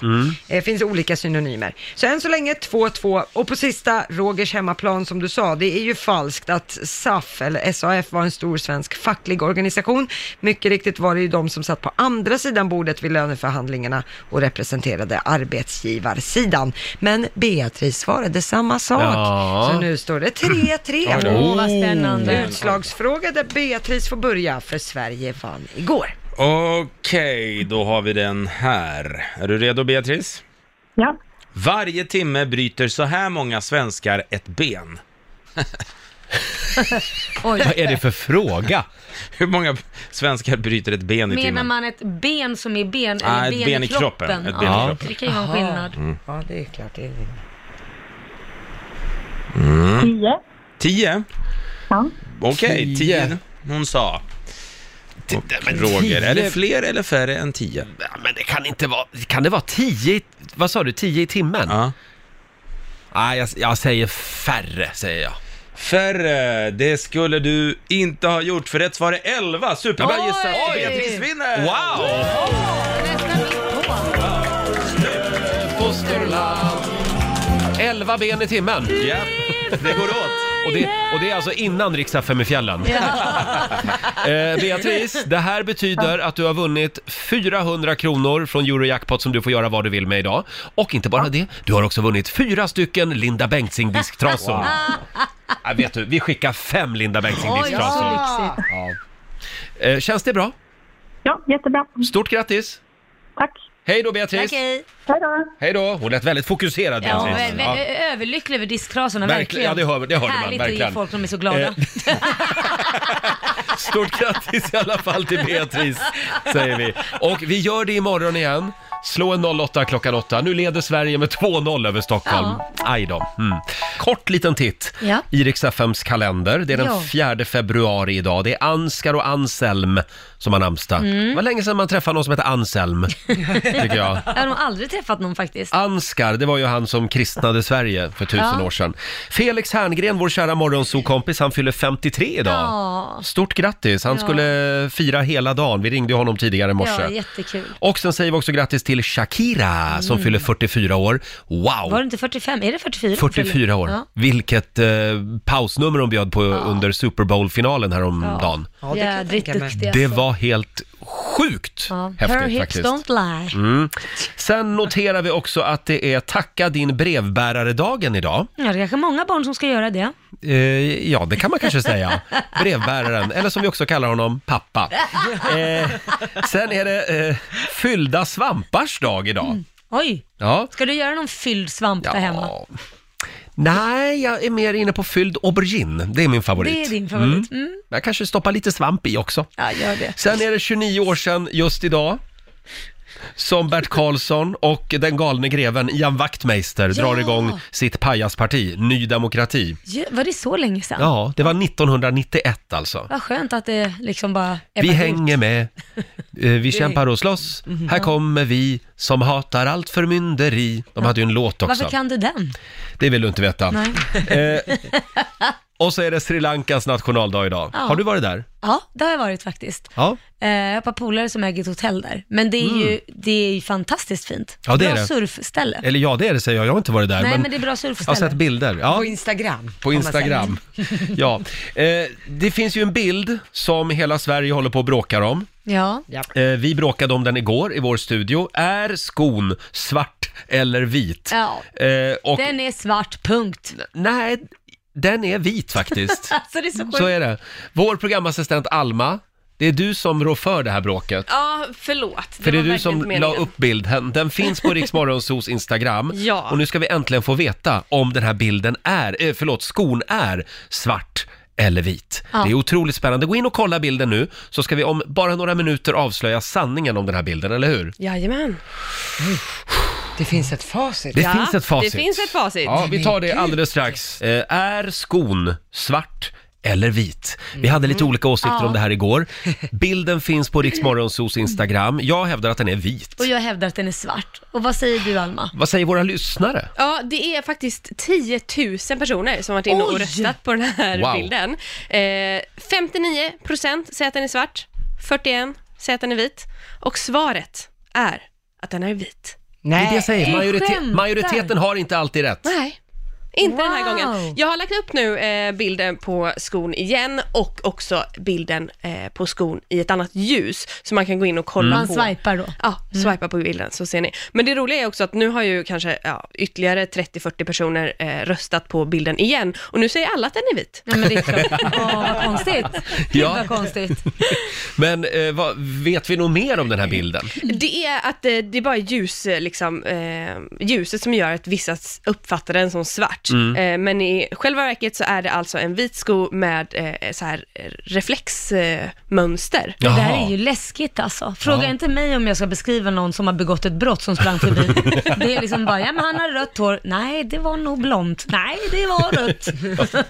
Speaker 3: Det Eh, finns olika synonymer. Så än så länge 2-2. Och på sista, Rogers hemmaplan som du sa, det är ju falskt att SAF, eller SAF, var en stor svensk facklig organisation. Mycket riktigt var det ju de som satt på andra sidan bordet vid löneförhandlingarna och representerade arbetsgivarsidan. Men Beatrice svarade samma sak.
Speaker 1: Ja.
Speaker 3: Så nu står det 3-3.
Speaker 2: Åh, vad spännande.
Speaker 3: Utslagsfråga där Beatrice får börja, för Sverige vann igår.
Speaker 5: Okej, då har vi den här. Är du redo Beatrice?
Speaker 9: Ja.
Speaker 5: Varje timme bryter så här många svenskar ett ben.
Speaker 1: Vad är det för fråga?
Speaker 5: Hur många svenskar bryter ett ben i
Speaker 2: Menar
Speaker 5: timmen?
Speaker 2: man ett ben som är ben, eller
Speaker 5: Ah, ett
Speaker 2: ben,
Speaker 5: ben
Speaker 2: i
Speaker 5: i
Speaker 2: kroppen?
Speaker 5: kroppen. Ett ben i
Speaker 2: ja.
Speaker 5: kroppen.
Speaker 2: Det kan ju vara en skillnad.
Speaker 3: Ja, det är klart. Det är...
Speaker 9: Tio.
Speaker 5: Mm. Tio?
Speaker 9: Ja.
Speaker 5: Okej,
Speaker 1: Tio.
Speaker 5: tio. Hon sa. Och Roger, är det fler eller färre än tio?
Speaker 1: Ja, Men det kan inte vara... Kan det vara tio... i- Vad sa du? Tio i timmen? Nej,
Speaker 5: Ja.
Speaker 1: Ah, jag, jag säger färre, säger jag.
Speaker 5: Färre, det skulle du inte ha gjort för rätt svar är elva. Superbra
Speaker 2: Oj!
Speaker 5: gissat! Beatrice vinner!
Speaker 1: Wow!
Speaker 2: Nästan mitt på.
Speaker 1: Fosterland. Elva ben i timmen.
Speaker 5: Ja, det går åt.
Speaker 1: Och det, och det är alltså innan riksdag fem i fjällen. eh, Beatrice, det här betyder att du har vunnit 400 kronor från Eurojackpot som du får göra vad du vill med idag. Och inte bara det, du har också vunnit fyra stycken Linda Bengtzing-disktrasor. Ja, vet du, vi skickar fem Linda
Speaker 2: Oj, så
Speaker 1: Bengtzing-disktrasor.
Speaker 2: lyxigt.
Speaker 1: Eh, känns det bra?
Speaker 9: ja, jättebra.
Speaker 1: Stort grattis!
Speaker 9: Tack.
Speaker 1: Hej då Beatrice!
Speaker 2: Tack, hej.
Speaker 9: Hej då.
Speaker 1: Hej då! Hon lät väldigt fokuserad
Speaker 2: Ja,
Speaker 1: Beatrice.
Speaker 2: vä- vä- Överlycklig över disktrasorna, verkligen.
Speaker 1: Verkligen, ja, det hör- det hörde man,
Speaker 2: Härligt att ge
Speaker 1: verkligen.
Speaker 2: folk när de är så glada.
Speaker 1: Eh, Stort grattis i alla fall till Beatrice, säger vi. Och vi gör det imorgon igen. Slå en 08 klockan 8. Nu leder Sverige med 2-0 över Stockholm. Aj då. Mm. Kort liten titt
Speaker 2: Ja.
Speaker 1: i Rix FMs kalender. Det är den
Speaker 2: Ja.
Speaker 1: 4 februari idag. Det är Anskar och Anselm som har namnsdag.
Speaker 2: Mm.
Speaker 1: Det var länge sedan man träffade någon som hette Anselm, tycker jag.
Speaker 2: Jag har nog aldrig träffat någon faktiskt.
Speaker 1: Anskar, det var ju han som kristnade Sverige för tusen
Speaker 2: Ja.
Speaker 1: år sedan. Felix Herngren, vår kära morgonsokompis, han fyller 53 idag.
Speaker 2: Ja.
Speaker 1: Stort grattis! Han
Speaker 2: Ja.
Speaker 1: skulle fira hela dagen. Vi ringde ju honom tidigare i morse.
Speaker 2: Ja, jättekul.
Speaker 1: och sen säger vi också grattis till Shakira som
Speaker 2: Mm.
Speaker 1: fyller 44 år.
Speaker 2: Var det
Speaker 1: Wow!
Speaker 2: inte 45? Är det 44?
Speaker 1: 44 år.
Speaker 2: Ja.
Speaker 1: Vilket eh, pausnummer hon bjöd på under Super Bowl-finalen häromdagen.
Speaker 3: Ja, det kan jag
Speaker 2: Jädrigt
Speaker 3: tänka mig.
Speaker 2: duktiga.
Speaker 1: Det var helt sjukt
Speaker 2: Ja. Her
Speaker 1: häftigt
Speaker 2: hips
Speaker 1: faktiskt. Mm.
Speaker 2: don't lie.
Speaker 1: Sen noterar vi också att det är tacka din brevbärare-dagen idag.
Speaker 2: Ja, det är kanske många barn som ska göra det.
Speaker 1: Eh, ja, det kan man kanske säga. Brevbäraren, eller som vi också kallar honom, pappa. Eh, sen är det eh, fyllda svampars dag
Speaker 2: Mm.
Speaker 1: idag.
Speaker 2: Oj,
Speaker 1: Ja.
Speaker 2: ska du göra någon fylld svamp där hemma?
Speaker 1: ja. Nej, jag är mer inne på fylld aubergine. Det är min favorit.
Speaker 2: Det är din favorit. Mm.
Speaker 1: Jag kanske stoppar lite svamp i också.
Speaker 2: Ja, gör det.
Speaker 1: Sen är det 29 år sedan just idag som Bert Karlsson och den galne greven Ian Wachtmeister drar
Speaker 2: Ja.
Speaker 1: igång sitt pajasparti, Ny Demokrati.
Speaker 2: Ju- Var det så länge sedan?
Speaker 1: Ja, det var 1991 alltså.
Speaker 2: Vad skönt att det liksom bara... ebbar
Speaker 1: Vi
Speaker 2: ut.
Speaker 1: hänger med, eh, vi kämpar och slåss.
Speaker 2: Mhm.
Speaker 1: Här kommer vi som hatar allt förmynderi. De hade ju en låt också.
Speaker 2: Varför kan du den?
Speaker 1: Det vill du inte veta.
Speaker 2: Nej.
Speaker 1: Eh, och så är det Sri Lankas nationaldag idag.
Speaker 2: Ja.
Speaker 1: Har du varit där?
Speaker 2: Ja, det har jag varit faktiskt.
Speaker 1: Ja.
Speaker 2: Eh, jag har ett par polare som äger ett hotell där. Men det är, ju, det är ju fantastiskt fint.
Speaker 1: Mm. Ja, det är
Speaker 2: bra
Speaker 1: det. Eh,
Speaker 2: surfställe.
Speaker 1: Eller ja, det är det säger jag. Jag har inte varit där.
Speaker 2: Nej, men,
Speaker 1: men
Speaker 2: det är bra
Speaker 1: jag har
Speaker 2: surfställe.
Speaker 1: sett bilder. Ja,
Speaker 3: På Instagram.
Speaker 1: på Instagram. Ja. Eh, det finns ju en bild som hela Sverige håller på och bråkar om.
Speaker 2: Ja.
Speaker 1: Eh, vi bråkade om den igår i vår studio. Är skon svart eller vit?
Speaker 2: ja,
Speaker 1: Eh, och
Speaker 2: den är svart, punkt.
Speaker 1: nej, den är vit faktiskt.
Speaker 2: Alltså det är så sjukt.
Speaker 1: Så är det. Vår programassistent Alma, det är du som rår för det här bråket.
Speaker 12: Ja, förlåt.
Speaker 1: För det är
Speaker 12: var
Speaker 1: du
Speaker 12: verkligen
Speaker 1: som
Speaker 12: inte meningen.
Speaker 1: la upp bilden. Den finns på Riksmorgonsos Instagram.
Speaker 12: Ja.
Speaker 1: Och nu ska vi äntligen få veta om den här bilden är, eh, förlåt, skon är svart eller vit.
Speaker 2: Ja.
Speaker 1: Det är otroligt spännande. Gå in och kolla bilden nu, så ska vi om bara några minuter avslöja sanningen om den här bilden, eller hur?
Speaker 12: Jajamän.
Speaker 3: Det finns ett facit.
Speaker 1: Det finns ett facit.
Speaker 12: Det finns ett facit.
Speaker 1: Ja, vi tar det alldeles strax. Eh, är skon svart eller vit? Vi hade
Speaker 12: Mm.
Speaker 1: lite olika åsikter om det här igår. Bilden finns på Riksmorgonsos Instagram. Jag hävdar att den är vit.
Speaker 2: Och jag hävdar att den är svart. Och vad säger du Alma?
Speaker 1: Vad säger våra lyssnare?
Speaker 12: Ja, det är faktiskt 10 000 personer som varit inne och
Speaker 2: Oj!
Speaker 12: röstat på den här
Speaker 1: Wow.
Speaker 12: bilden. Eh, 59 procent säger att den är svart, 41 säger att den är vit och svaret är att den är vit.
Speaker 1: Det är det jag
Speaker 3: Nej.
Speaker 1: säger.
Speaker 2: du
Speaker 1: Majorite-
Speaker 2: skämtar.
Speaker 1: majoriteten har inte alltid rätt.
Speaker 12: Nej. Inte den här
Speaker 2: Wow.
Speaker 12: gången. Jag har lagt upp nu eh, bilden på skon igen och också bilden eh, på skon i ett annat ljus, så man kan gå in och kolla
Speaker 2: Mm. Man
Speaker 12: på.
Speaker 2: swipar då. Mm.
Speaker 12: Ja, swipa på bilden så ser ni. Men det roliga är också att nu har ju kanske ja, ytterligare 30-40 personer eh, röstat på bilden igen och nu säger alla att den är vit.
Speaker 2: Ja, men det är klart. Åh, vad konstigt. Gud,
Speaker 1: Ja.
Speaker 2: vad konstigt.
Speaker 1: Men eh, vad, vet vi nog mer om den här bilden?
Speaker 12: Det är att eh, det är bara ljus, eh, liksom, eh, ljuset som gör att vissa s- uppfattar den som svart.
Speaker 2: Mm.
Speaker 12: Eh, men i själva verket så är det alltså en vit sko med eh, så här eh, reflexmönster. Eh, mönster.
Speaker 2: Det här är ju läskigt alltså. Fråga
Speaker 1: Ja.
Speaker 2: inte mig om jag ska beskriva någon som har begått ett brott som sprang förbi. Det är liksom bara, ja men han har rött hår. Nej, det var nog blont. Nej, det var rött.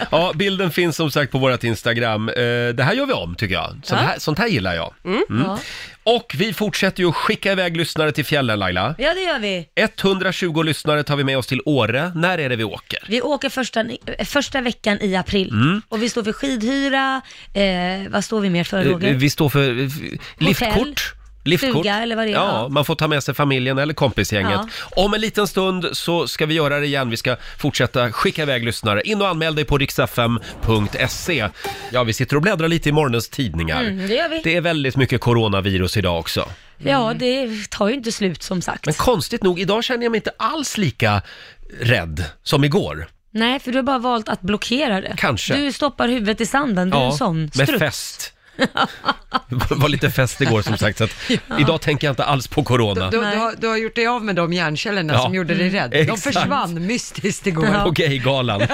Speaker 1: Ja, bilden finns som sagt på vårt Instagram. Eh, det här gör vi om tycker jag. Sånt, här, sånt här gillar jag.
Speaker 2: Mm.
Speaker 1: Mm.
Speaker 2: Ja.
Speaker 1: Och vi fortsätter ju att skicka iväg lyssnare till fjällen Laila.
Speaker 2: ja, det gör vi.
Speaker 1: 120 lyssnare tar vi med oss till Åre. När är det vi åker?
Speaker 2: Vi åker första, eh, första veckan i april
Speaker 1: Mm.
Speaker 2: och vi står för skidhyra, eh, vad står vi mer för
Speaker 1: Eh,
Speaker 2: Roger?
Speaker 1: Vi står för eh, f- liftkort. Liftkort.
Speaker 2: stuga eller vad det är,
Speaker 1: Ja,
Speaker 2: ja.
Speaker 1: man får ta med sig familjen eller kompisgänget.
Speaker 2: Ja.
Speaker 1: Om en liten stund så ska vi göra det igen. Vi ska fortsätta skicka iväg lyssnare. In och anmäl dig på riksfm.se. Ja, vi sitter och bläddrar lite i morgonens tidningar.
Speaker 2: Mm, det gör vi.
Speaker 1: Det är väldigt mycket coronavirus idag också.
Speaker 2: Ja, det tar ju inte slut som sagt.
Speaker 1: Men konstigt nog, idag känner jag mig inte alls lika rädd som igår.
Speaker 2: Nej, för du har bara valt att blockera det.
Speaker 1: Kanske.
Speaker 2: Du stoppar huvudet i sanden, du är en sån
Speaker 1: med
Speaker 2: strutt.
Speaker 1: fest. Det var lite fest igår som sagt, så att idag tänker jag inte alls på corona.
Speaker 3: Du, du,
Speaker 2: Nej.
Speaker 3: har, du har gjort dig av med de hjärncellerna
Speaker 1: Ja.
Speaker 3: som gjorde dig rädd. De
Speaker 1: Exakt.
Speaker 3: försvann mystiskt igår.
Speaker 1: på gaygalan. eh,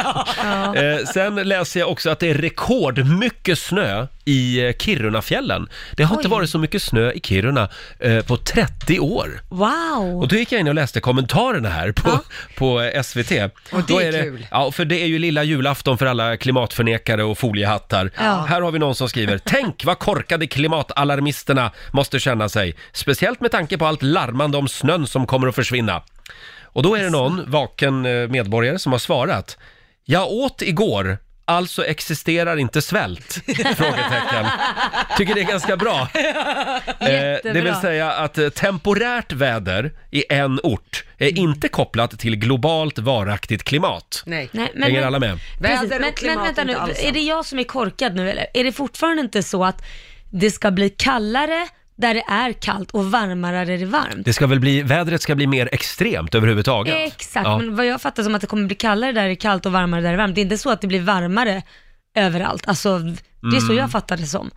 Speaker 1: sen läser jag också att det är rekordmycket snö i eh, Kirunafjällen. Det har inte
Speaker 2: Oj.
Speaker 1: varit så mycket snö i Kiruna eh, på 30 år.
Speaker 2: Wow!
Speaker 1: Och då gick jag in och läste kommentarerna här på, på eh, SVT. Och
Speaker 3: det
Speaker 1: då
Speaker 3: är
Speaker 1: det,
Speaker 3: kul.
Speaker 1: Ja, för det är ju lilla julafton för alla klimatförnekare och foliehattar. Här har vi någon som skriver, tänk vad korkade klimatalarmisterna måste känna sig. Speciellt med tanke på allt larmande om snön som kommer att försvinna. Och då är det någon vaken eh, medborgare som har svarat, jag åt igår, alltså existerar inte svält? Frågetecken. Tycker det är ganska bra. Eh, det vill säga att eh, temporärt väder i en ort är inte kopplat till globalt varaktigt klimat.
Speaker 3: Nej.
Speaker 2: Nej, men,
Speaker 1: Hänger alla med?
Speaker 3: Väder
Speaker 2: Precis,
Speaker 3: och
Speaker 2: men,
Speaker 3: klimat
Speaker 2: men vänta
Speaker 3: är
Speaker 2: nu,
Speaker 3: inte alls
Speaker 2: är det jag som är korkad nu eller? Är det fortfarande inte så att det ska bli kallare där det är kallt och varmare där det är varmt?
Speaker 1: Det ska väl bli, vädret ska bli mer extremt överhuvudtaget.
Speaker 2: Exakt,
Speaker 1: Ja.
Speaker 2: men vad jag fattar som att det kommer bli kallare där det är kallt och
Speaker 5: Mm.
Speaker 2: varmare där det är varmt. Det är inte så att det blir varmare överallt. Alltså, det är så jag fattar det som.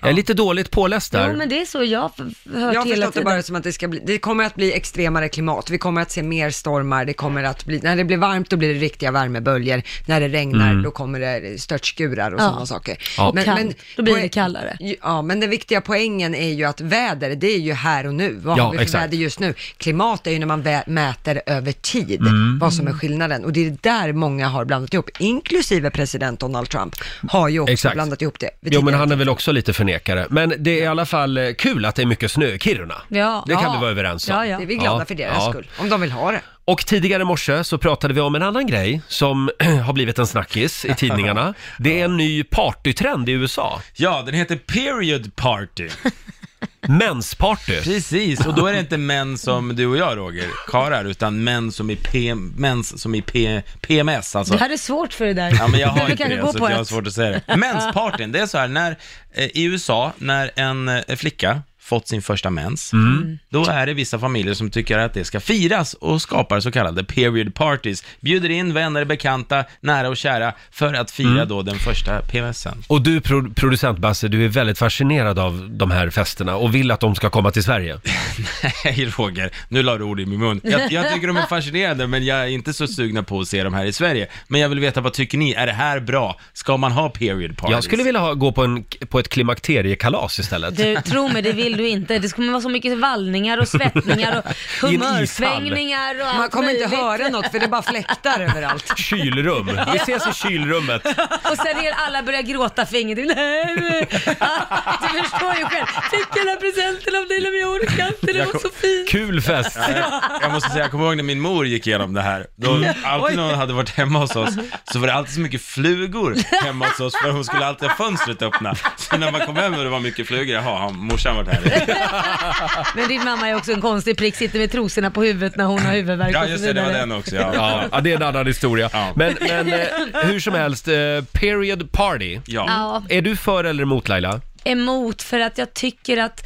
Speaker 1: Jag är lite dåligt påläst där.
Speaker 2: Jo, men det är så jag har f- hört
Speaker 3: Jag har
Speaker 2: hela
Speaker 3: förstått det
Speaker 2: tiden.
Speaker 3: bara som att det ska bli, det kommer att bli extremare klimat, vi kommer att se mer stormar, det kommer att bli, när det blir varmt då blir det riktiga värmeböljor, när det regnar
Speaker 6: Mm.
Speaker 3: då kommer det störtskurar och
Speaker 2: Ja.
Speaker 3: sådana saker.
Speaker 2: Ja. Kallt, då blir det
Speaker 3: kallare. Ja, men den viktiga poängen är ju att väder, det är ju här och nu, vad
Speaker 1: Ja,
Speaker 3: har vi för
Speaker 1: exakt.
Speaker 3: väder just nu? Klimat är ju när man vä- mäter över tid,
Speaker 1: Mm.
Speaker 3: vad som är skillnaden, och det är där många har blandat ihop, inklusive president Donald Trump, har ju också
Speaker 1: Exakt.
Speaker 3: blandat ihop det. vid
Speaker 1: Jo, men
Speaker 3: tidigare
Speaker 1: han är väl också lite förnekare. Men det är i alla fall eh, kul att det är mycket snö i Kiruna.
Speaker 3: Ja.
Speaker 1: Det kan
Speaker 3: Ja.
Speaker 1: vi vara överens om.
Speaker 3: Ja, ja. Det är vi glada för deras skull, om de vill ha det.
Speaker 1: Och tidigare i morse så pratade vi om en annan grej som har blivit en snackis i tidningarna. Det är en ny partytrend i USA.
Speaker 5: Ja, den heter period party.
Speaker 1: Mensparty.
Speaker 5: Precis, och då är det inte män som du och jag Roger, karar, utan män som i, P, mens som i P, PMS. Alltså.
Speaker 2: Det här är svårt för det där.
Speaker 5: Ja, men jag har
Speaker 2: Du
Speaker 5: inte
Speaker 2: kanske
Speaker 5: det,
Speaker 2: går
Speaker 5: så
Speaker 2: på
Speaker 5: jag har
Speaker 2: ett.
Speaker 5: svårt att säga det. Menspartyn, det är så här, när, eh, i USA, när en eh, flicka fått sin första mens, då är det vissa familjer som tycker att det ska firas och skapar så kallade period parties. Bjuder in vänner, bekanta, nära och kära för att fira då den första PMSen.
Speaker 1: Och du pro- producent Basse, du är väldigt fascinerad av de här festerna och vill att de ska komma till Sverige.
Speaker 5: Nej Roger, nu la du ord i min mun. Jag, jag tycker de är fascinerande, men jag är inte så sugna på att se dem här i Sverige. Men jag vill veta, vad tycker ni? Är det här bra? Ska man ha period parties?
Speaker 1: Jag skulle vilja ha, gå på, en, på ett klimakteriekalas istället.
Speaker 2: Du, tro mig, det vill du inte. Det kommer vara så mycket vallningar och svettningar och
Speaker 1: I en ishall.
Speaker 2: humörsvängningar och allt
Speaker 3: Man kommer inte
Speaker 2: möjligt.
Speaker 3: höra något för det är bara fläktar överallt.
Speaker 1: Kylrum. Vi ses i kylrummet.
Speaker 2: Och sen är alla börjar gråta för ingenting. Nej, men- ah, du förstår ju själv. Fick den här presenten av dig, men jag orkar inte. Det
Speaker 5: Jag
Speaker 2: var
Speaker 5: kom-
Speaker 2: så fint.
Speaker 1: Kul fest!
Speaker 5: jag, jag måste säga, jag kommer ihåg när min mor gick igenom det här. Då,
Speaker 2: Mm.
Speaker 5: alltid när hon hade varit hemma hos oss, så var det alltid så mycket flugor hemma hos oss, för hon skulle alltid ha fönstret öppna. Så när man kom hem och det var mycket flugor, jaha, har morsan varit här.
Speaker 2: Men din mamma är också en konstig prick, sitter med trosorna på huvudet när hon har huvudvärk
Speaker 5: Ja,
Speaker 2: och så
Speaker 5: just det, det var
Speaker 2: vidare.
Speaker 5: den också.
Speaker 1: Ja,
Speaker 5: Ja.
Speaker 1: ja, det är en annan historia. Men, men eh, hur som helst, eh, period party.
Speaker 2: Ja.
Speaker 1: Är du för eller emot Laila?
Speaker 2: emot för att jag tycker att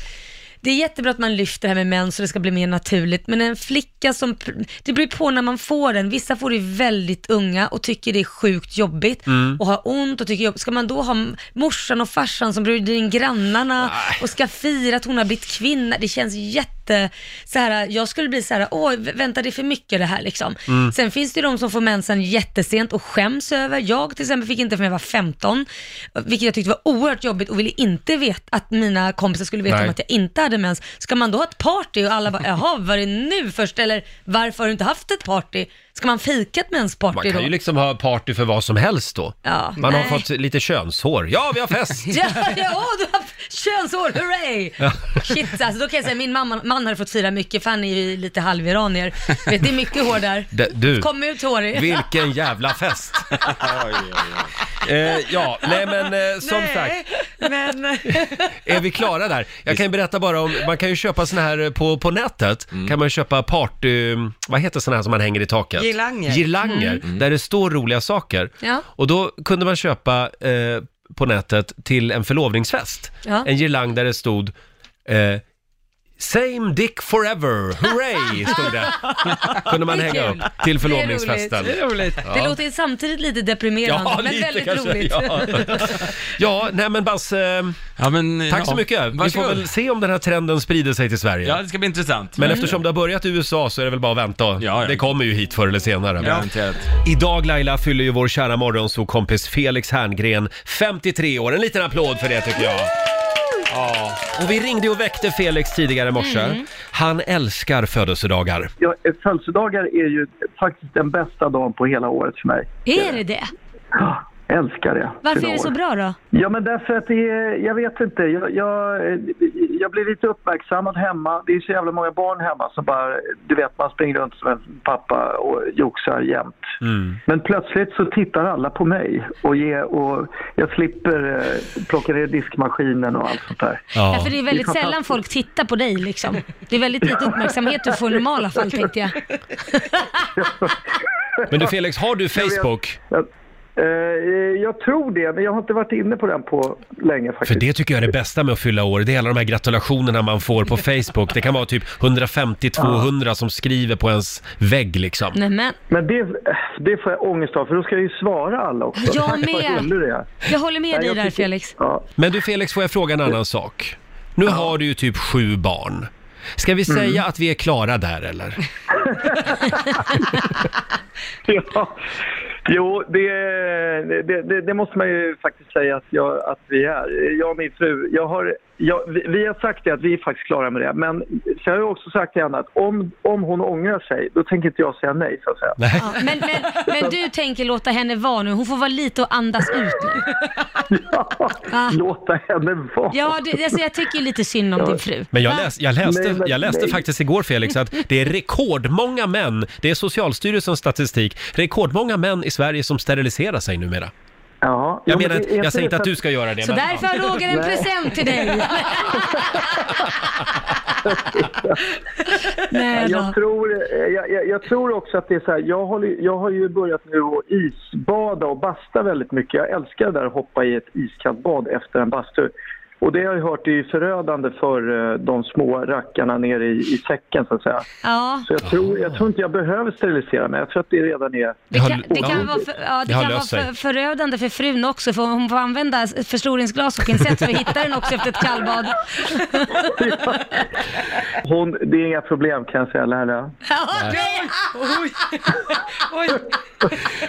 Speaker 2: det är jättebra att man lyfter det här med män så det ska bli mer naturligt, men en flicka som, pr- det beror på när man får den, vissa får det väldigt unga och tycker det är sjukt jobbigt
Speaker 6: Mm.
Speaker 2: och har ont och tycker jobbigt, ska man då ha m- morsan och farsan som bjuder in grannarna och ska fira att hon har blivit kvinna, det känns jätte, så här, jag skulle bli så här, åh vä- vänta det är för mycket det här liksom.
Speaker 6: Mm.
Speaker 2: Sen finns det ju de som får mensen jättesent och skäms över. Jag till exempel fick inte förrän jag var 15, vilket jag tyckte var oerhört jobbigt och ville inte veta att mina kompisar skulle veta
Speaker 6: Nej.
Speaker 2: om att jag inte hade mens. Ska man då ha ett party och alla bara, jaha, var det nu först? Eller varför har du inte haft ett party? Ska man fika ett mensparty
Speaker 1: Man
Speaker 2: då?
Speaker 1: kan ju liksom ha party för vad som helst då.
Speaker 2: Ja,
Speaker 1: Man har
Speaker 2: nej.
Speaker 1: fått lite könshår. Ja, vi har fest!
Speaker 2: Ja, ja, åh, du har haft könshår, hurray!
Speaker 1: Ja.
Speaker 2: Shit, alltså, då kan jag säga min mamma, man hade fått fira mycket för han är ju lite halviranier. Vet, det är mycket hår där.
Speaker 1: D- du.
Speaker 2: Kom ut hårig.
Speaker 1: Vilken jävla fest! Eh, ja, nej men eh, som sagt,
Speaker 3: men...
Speaker 1: är vi klara där? Jag kan ju berätta bara om, man kan ju köpa såna här eh, på, på nätet, kan man ju köpa party, vad heter såna här som man hänger i taket?
Speaker 3: Girlanger.
Speaker 1: Girlanger,
Speaker 3: Mm.
Speaker 1: där det står roliga saker.
Speaker 2: Ja.
Speaker 1: Och då kunde man köpa eh, på nätet till en förlovningsfest.
Speaker 2: Ja.
Speaker 1: En girlang där det stod eh, Same dick forever, hooray, stod det. kunde man
Speaker 2: Det är
Speaker 1: hänga
Speaker 2: kul.
Speaker 1: upp till förlovningsfesten.
Speaker 2: Det är roligt.
Speaker 1: Ja.
Speaker 2: Det låter samtidigt lite deprimerande,
Speaker 1: Ja,
Speaker 2: men
Speaker 1: lite
Speaker 2: väldigt
Speaker 1: kanske,
Speaker 2: roligt.
Speaker 1: ja. Ja, nej men Basse, tack så
Speaker 5: ja.
Speaker 1: mycket. Vi får
Speaker 5: Varsågod.
Speaker 1: väl se om den här trenden sprider sig till Sverige.
Speaker 5: ja, det ska bli intressant.
Speaker 1: Men eftersom det har börjat i USA så är det väl bara att vänta. Det kommer ju hit förr eller senare.
Speaker 5: Garanterat.
Speaker 1: Idag Laila fyller ju vår kära morgonsåkompis Felix Herngren 53 år. En liten applåd för det tycker jag. Ja. Och vi ringde och väckte Felix tidigare i morse.
Speaker 13: Mm.
Speaker 1: Han älskar födelsedagar.
Speaker 13: Ja, eh, födelsedagar är ju faktiskt den bästa dagen på hela året för mig. Ah,
Speaker 2: Är det det?
Speaker 13: Älskar det.
Speaker 2: Varför
Speaker 13: Fylla
Speaker 2: är det
Speaker 13: år.
Speaker 2: så bra då?
Speaker 13: Ja, men därför att det är, jag vet inte, jag, jag, eh, jag blir lite uppmärksammad hemma. Det är så jävla många barn hemma som bara, du vet, man springer runt som en pappa och joxar jämt. Men plötsligt så tittar alla på mig och, ge, och jag slipper eh, plocka ner diskmaskinen och allt sånt där.
Speaker 2: Ja. för det är väldigt sällan folk tittar på dig liksom. Det är väldigt lite uppmärksamhet du får i normala fall tänkte jag.
Speaker 1: Men du Felix, har du Facebook?
Speaker 13: Eh, eh, jag tror det, men jag har inte varit inne på den på länge
Speaker 1: För
Speaker 13: faktiskt.
Speaker 1: det tycker jag är det bästa med att fylla år, det är alla de här gratulationerna man får på Facebook. Det kan vara typ 150-200 som skriver på ens vägg liksom.
Speaker 2: Nämen.
Speaker 13: Men det, det får jag ångest av, för då ska jag ju svara alla också.
Speaker 2: Jag
Speaker 13: Tack, vad
Speaker 2: med.
Speaker 13: gullig du är.
Speaker 2: Jag håller
Speaker 13: Nej,
Speaker 2: med dig
Speaker 13: jag
Speaker 2: där
Speaker 13: tycker-
Speaker 2: Felix.
Speaker 1: Men du Felix, får jag fråga en annan sak? Nu har du ju typ sju barn. Ska vi säga
Speaker 13: Mm.
Speaker 1: att vi är klara där eller?
Speaker 13: Ja. Jo, det, det, det, det måste man ju faktiskt säga att, jag, att vi är. Jag och min fru, jag har, jag, vi, vi har sagt det att vi är faktiskt klara med det. Men så har jag också sagt till henne att om, om hon ångrar sig, då tänker inte jag säga nej så att säga.
Speaker 2: Ja, men, men, men du tänker låta henne vara nu. Hon får vara lite och andas ut nu. Ah.
Speaker 13: Låta henne vara.
Speaker 2: Ja, du, alltså, jag tycker ju lite synd om din fru.
Speaker 1: Men jag, läs, jag läste,
Speaker 13: Nej, men
Speaker 1: jag läste
Speaker 13: nej.
Speaker 1: faktiskt igår Felix att det är rekordmånga män, det är Socialstyrelsens statistik, rekordmånga män i Sverige som steriliserar sig numera.
Speaker 13: Ja,
Speaker 1: Jag,
Speaker 13: Jo, men
Speaker 1: menar,
Speaker 13: det- är
Speaker 1: jag säger inte
Speaker 13: det
Speaker 1: att
Speaker 13: för-
Speaker 1: du ska göra det.
Speaker 2: Så
Speaker 1: men-
Speaker 2: därför har Roger en present till dig. Nej då.
Speaker 13: Jag tror, eh, jag, jag, jag tror också att det är så här, jag, håller, ju- jag har ju börjat nu att isbada och basta väldigt mycket. Jag älskar det där att hoppa i ett iskallt bad efter en bastu. Och det har jag hört är ju förödande för eh, de små rackarna nere i, i säcken så att säga.
Speaker 2: Ja,
Speaker 13: Så jag tror, jag tror inte jag behöver sterilisera mig, jag tror att det redan är...
Speaker 1: Det har-
Speaker 2: det kan
Speaker 1: ja.
Speaker 2: vara, för, ja,
Speaker 1: Det
Speaker 2: det
Speaker 1: har
Speaker 2: kan vara
Speaker 1: löst sig.
Speaker 2: för, förödande för frun också, för hon får använda förstoringsglas och pincett för att hitta den också efter ett kallbad.
Speaker 13: Hon, det är inga problem kan jag säga, Laila.
Speaker 2: Ja, det-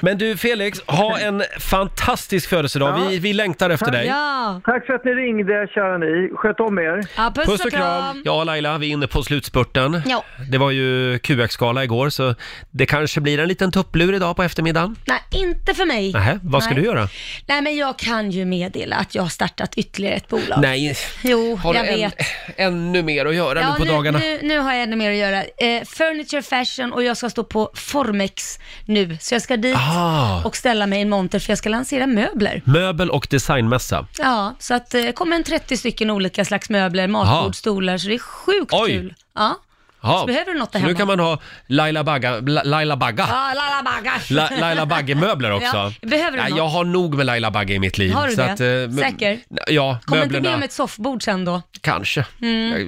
Speaker 1: Men du Felix, ha en fantastisk födelsedag. Vi, vi längtar efter dig.
Speaker 2: ja.
Speaker 13: Tack för att ni ringde kära ni, sköt om er.
Speaker 2: ja puss,
Speaker 1: Puss och kram! Ja Laila, vi är inne på slutspurten.
Speaker 8: Ja.
Speaker 1: Det var ju QX-gala igår så det kanske blir en liten tupplur idag på eftermiddagen.
Speaker 2: Nej, inte för mig.
Speaker 1: Nähä, vad ska
Speaker 2: Nej.
Speaker 1: du göra?
Speaker 2: Nej, men jag kan ju meddela att jag har startat ytterligare ett bolag.
Speaker 1: Nej,
Speaker 2: Jo,
Speaker 1: har du
Speaker 2: jag
Speaker 1: en,
Speaker 2: vet.
Speaker 1: ännu mer att göra nu på
Speaker 2: nu,
Speaker 1: dagarna?
Speaker 2: Nu, nu har jag ännu mer att göra. Eh, furniture fashion och jag ska stå på Formex nu. Så jag ska dit
Speaker 1: Ah.
Speaker 2: och ställa mig i en monter för jag ska lansera möbler.
Speaker 1: Möbel och designmässa.
Speaker 2: Ja, så att eh, kommer en 30 stycken olika slags möbler, matbord,
Speaker 1: Ah.
Speaker 2: stolar, så det är sjukt
Speaker 1: Oj.
Speaker 2: kul. Ja.
Speaker 1: Ja.
Speaker 2: Så behöver du något där
Speaker 1: Så nu
Speaker 2: hemma?
Speaker 1: kan man ha Laila Bagga, La, Laila Bagga.
Speaker 2: Ja, lala bagage.
Speaker 1: La, Laila Bagge-möbler också.
Speaker 2: Ja, behöver du
Speaker 1: Nej,
Speaker 2: något?
Speaker 1: jag har nog med Laila Bagge i mitt liv. eh,
Speaker 2: Har du det?
Speaker 1: mö-
Speaker 2: Säker?
Speaker 1: Ja,
Speaker 2: Kommer inte
Speaker 1: möblerna
Speaker 2: med om ett soffbord sen då?
Speaker 1: kanske. Ja,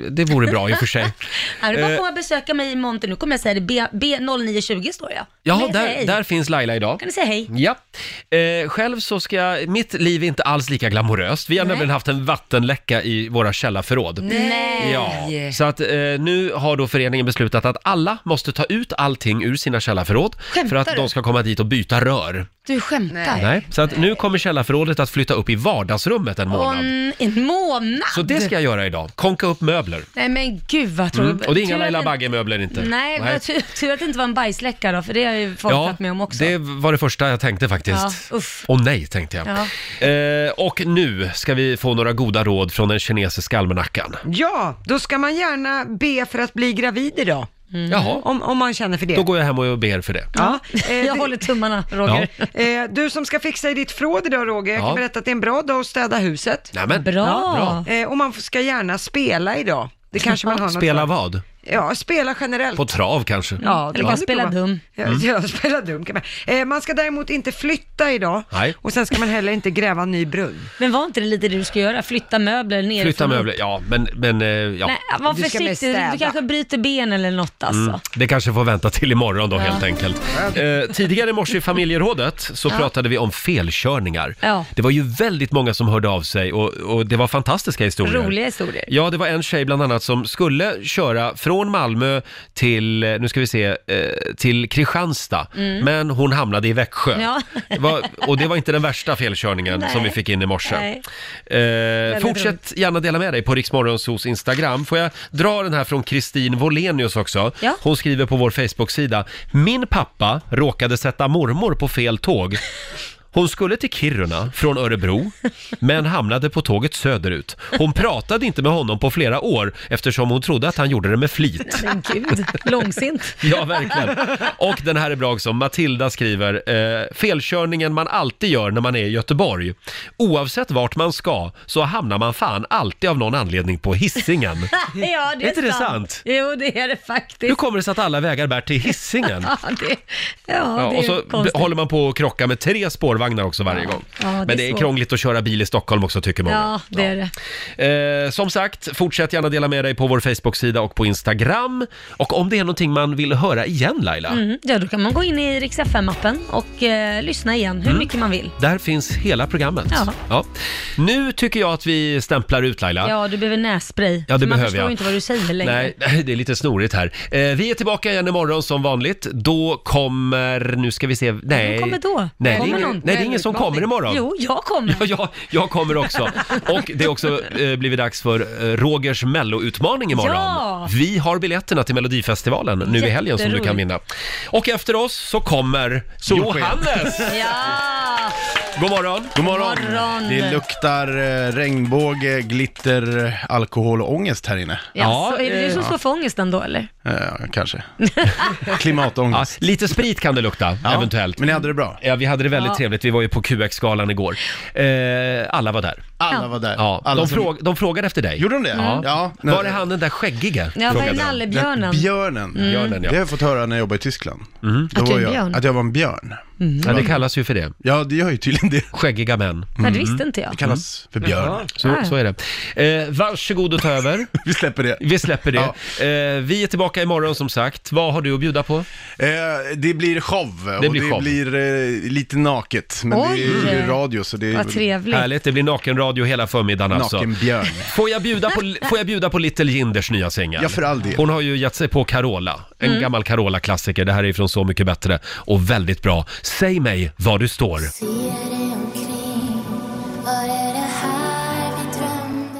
Speaker 1: Det vore bra i och för sig.
Speaker 2: Nej, du bara
Speaker 1: Eh.
Speaker 2: komma och besöka mig i monter. Nu kommer jag säga det. B, B0920 står jag.
Speaker 1: Ja,
Speaker 2: Kan jag säga
Speaker 1: där,
Speaker 2: hej?
Speaker 1: där finns Laila idag.
Speaker 2: Kan du säga hej?
Speaker 1: Ja. Eh, själv så ska jag, mitt liv är inte alls lika glamoröst. Vi har
Speaker 2: Nej.
Speaker 1: nämligen haft en vattenläcka i våra källarförråd.
Speaker 2: Nej.
Speaker 1: Ja, så att eh, nu har då föreningen beslutat att alla måste ta ut allting ur sina källarförråd för att de ska komma dit och byta rör.
Speaker 2: Du skämtar?
Speaker 1: Nej. Så att nu kommer källarförrådet att flytta upp i vardagsrummet en
Speaker 2: Och
Speaker 1: månad.
Speaker 2: en, en månad?
Speaker 1: Så det ska jag göra idag, konka upp möbler.
Speaker 2: Nej men gud vad tråkigt.
Speaker 1: Mm. Och det är
Speaker 2: Tur
Speaker 1: inga
Speaker 2: att
Speaker 1: Laila
Speaker 2: det-
Speaker 1: Bagge-möbler inte.
Speaker 2: Nej, men tur, tur att det inte var en bajsläcka då, för det har jag ju folk
Speaker 1: Ja,
Speaker 2: varit med om också.
Speaker 1: det var det första jag tänkte faktiskt.
Speaker 2: Ja, uff.
Speaker 1: Åh nej, tänkte jag. Eh, och nu ska vi få några goda råd från den kinesiska almanackan.
Speaker 3: Ja, då ska man gärna be för att bli gravid idag.
Speaker 2: Mm.
Speaker 1: Jaha,
Speaker 3: Om, om man känner för det.
Speaker 1: då går jag hem och ber för det.
Speaker 3: Ja, eh,
Speaker 2: Jag
Speaker 3: det-
Speaker 2: håller tummarna, Roger.
Speaker 3: Eh, du som ska fixa i ditt förråd idag Roger, jag
Speaker 1: Ja.
Speaker 3: kan berätta att det är en bra dag att städa huset.
Speaker 1: Nämen.
Speaker 2: Bra.
Speaker 1: bra.
Speaker 3: Eh, och man f- ska gärna spela idag. Det kanske man har något
Speaker 1: Spela
Speaker 3: för.
Speaker 1: vad?
Speaker 3: Ja, spela generellt. Mm.
Speaker 1: På Mm. trav kanske?
Speaker 3: Ja,
Speaker 2: Eller bara spela dum.
Speaker 3: Ja, ja, spela dum kan man. Eh, man ska däremot inte flytta idag
Speaker 1: Nej.
Speaker 3: och sen ska man heller inte gräva en ny brunn.
Speaker 2: Men var inte det lite det du ska göra? Flytta möbler ner
Speaker 1: Flytta möbler, ja men, men eh, ja.
Speaker 2: Nej, var
Speaker 3: Du ska med
Speaker 2: försiktig. Du,
Speaker 3: städa.
Speaker 2: du kanske bryter ben eller något alltså.
Speaker 1: Mm. Det kanske får vänta till imorgon då helt enkelt. Eh, tidigare i morse i familjerådet så pratade vi om felkörningar.
Speaker 2: Ja.
Speaker 1: Det var ju väldigt många som hörde av sig och, och det var fantastiska historier.
Speaker 2: Roliga historier.
Speaker 1: Ja, det var en tjej bland annat som skulle köra från Malmö till, eh, nu ska vi se, eh, till Kristianstad. Men hon hamnade i Växjö.
Speaker 2: Mm. Ja.
Speaker 1: Det var, och det var inte den värsta felkörningen
Speaker 2: Nej.
Speaker 1: som vi fick in i morse.
Speaker 2: Nej.
Speaker 1: Eh,
Speaker 2: roligt.
Speaker 1: fortsätt gärna dela med dig på Riksmorgonsos Instagram. Får jag dra den här från Kristin Volenius också?
Speaker 2: Ja.
Speaker 1: Hon skriver på vår Facebook-sida. Min pappa råkade sätta mormor på fel tåg. Hon skulle till Kiruna från Örebro, men hamnade på tåget söderut. Hon pratade inte med honom på flera år eftersom hon trodde att han gjorde det med flit.
Speaker 2: Men gud, långsint.
Speaker 1: Ja, verkligen. Och den här är bra också. Matilda skriver, eh, felkörningen man alltid gör när man är i Göteborg. Oavsett vart man ska så hamnar man fan alltid av någon anledning på hissingen.
Speaker 2: Ja, det är,
Speaker 1: Är inte det sant?
Speaker 2: Jo, det är det
Speaker 1: Hur
Speaker 2: faktiskt.
Speaker 1: kommer det sig att alla vägar bär till hissingen?
Speaker 2: Ja, det, ja,
Speaker 1: Ja,
Speaker 2: det
Speaker 1: och
Speaker 2: är
Speaker 1: så
Speaker 2: konstigt.
Speaker 1: håller man på att krocka med tre barnvagnar också varje gång.
Speaker 2: Ja, det är
Speaker 1: Men det är
Speaker 2: svårt.
Speaker 1: krångligt att köra bil i Stockholm också tycker många.
Speaker 2: Ja, det är det.
Speaker 1: Eh, som sagt, fortsätt gärna dela med dig på vår Facebook-sida och på Instagram. Och om det är någonting man vill höra igen Laila,
Speaker 2: Mm, ja, då kan man gå in i Rix FM-appen och eh, lyssna igen hur
Speaker 1: Mm.
Speaker 2: mycket man vill.
Speaker 1: där finns hela programmet.
Speaker 2: Ja.
Speaker 1: Nu tycker jag att vi stämplar ut Laila.
Speaker 2: Ja, du behöver nässpray.
Speaker 1: Ja, det
Speaker 2: för man
Speaker 1: behöver
Speaker 2: förstår
Speaker 1: jag.
Speaker 2: ju inte vad du säger längre.
Speaker 1: Nej, det är lite snorigt här. Eh, vi är tillbaka igen imorgon som vanligt. Då kommer, nu ska vi se, nej.
Speaker 2: Vem kommer då?
Speaker 1: Nej,
Speaker 2: Kommer
Speaker 1: det, är ingen,
Speaker 2: någon?
Speaker 1: nej det är ingen som kommer imorgon.
Speaker 2: Jo, jag kommer.
Speaker 1: Ja, jag, jag kommer också. Och det är också eh, blivit dags för eh, Rogers melloutmaning imorgon.
Speaker 2: Ja!
Speaker 1: Vi har biljetterna till Melodifestivalen nu i helgen som du kan
Speaker 2: Jätteroligt.
Speaker 1: vinna. Och efter oss så kommer
Speaker 6: Solsken.
Speaker 1: Johannes!
Speaker 2: Ja!
Speaker 1: God morgon!
Speaker 6: God morgon.
Speaker 2: God morgon.
Speaker 6: Det luktar eh, regnbåge, glitter, alkohol och ångäst här inne.
Speaker 2: Ja, så är det du
Speaker 1: eh,
Speaker 2: som
Speaker 6: Ja.
Speaker 2: står för ångesten då eller?
Speaker 6: Eh, kanske. Klimatångest.
Speaker 1: lite sprit kan det lukta, eventuellt.
Speaker 6: Men ni hade det bra?
Speaker 1: Ja, vi hade det väldigt
Speaker 2: Ja.
Speaker 1: trevligt. Vi var ju på QX-galan igår. Eh, alla var där.
Speaker 6: Alla
Speaker 2: Ja.
Speaker 6: var där.
Speaker 1: Ja,
Speaker 6: Alla
Speaker 1: de,
Speaker 6: som-
Speaker 1: fråg, de frågade efter dig.
Speaker 6: Gjorde de det? Mm.
Speaker 1: Ja.
Speaker 6: Ja.
Speaker 1: Var det han den där skäggige?
Speaker 2: Ja, vad är
Speaker 1: Frågade de.
Speaker 2: nallebjörnen?
Speaker 6: Björnen.
Speaker 1: Mm. Björnen, ja. Mm.
Speaker 6: Det har jag fått höra när jag jobbade i Tyskland. Då
Speaker 2: Att du är
Speaker 6: var
Speaker 2: en
Speaker 6: jag,
Speaker 2: björn?
Speaker 6: att jag var en björn.
Speaker 1: Ja,
Speaker 2: Mm.
Speaker 1: det kallas ju för det.
Speaker 6: Ja, det gör ju tydligen det.
Speaker 1: Skäggiga män. Mm.
Speaker 2: Nej, det visste inte jag. Mm.
Speaker 6: Det kallas för björn.
Speaker 1: Så, så är det. Eh, varsågod och ta över.
Speaker 6: Vi släpper det.
Speaker 1: Vi släpper det. Eh, vi är tillbaka imorgon som sagt. Vad har du att bjuda på?
Speaker 6: Eh, det blir show
Speaker 1: Det
Speaker 6: och
Speaker 1: blir
Speaker 6: det
Speaker 1: show.
Speaker 6: blir eh, lite naket. Men det
Speaker 2: Oj.
Speaker 6: är ju radio så det är
Speaker 2: Vad trevligt.
Speaker 1: Härligt, det blir nakenradio hela förmiddagen alltså.
Speaker 6: naken björn.
Speaker 1: Får jag, bjuda på, får jag bjuda på Little Jinders nya singel?
Speaker 6: Ja, för all del.
Speaker 1: Hon har ju gett sig på Carola, en
Speaker 2: Mm.
Speaker 1: gammal Carola-klassiker. Det här är ifrån Så mycket bättre och väldigt bra. Säg mig var du står.
Speaker 14: Ser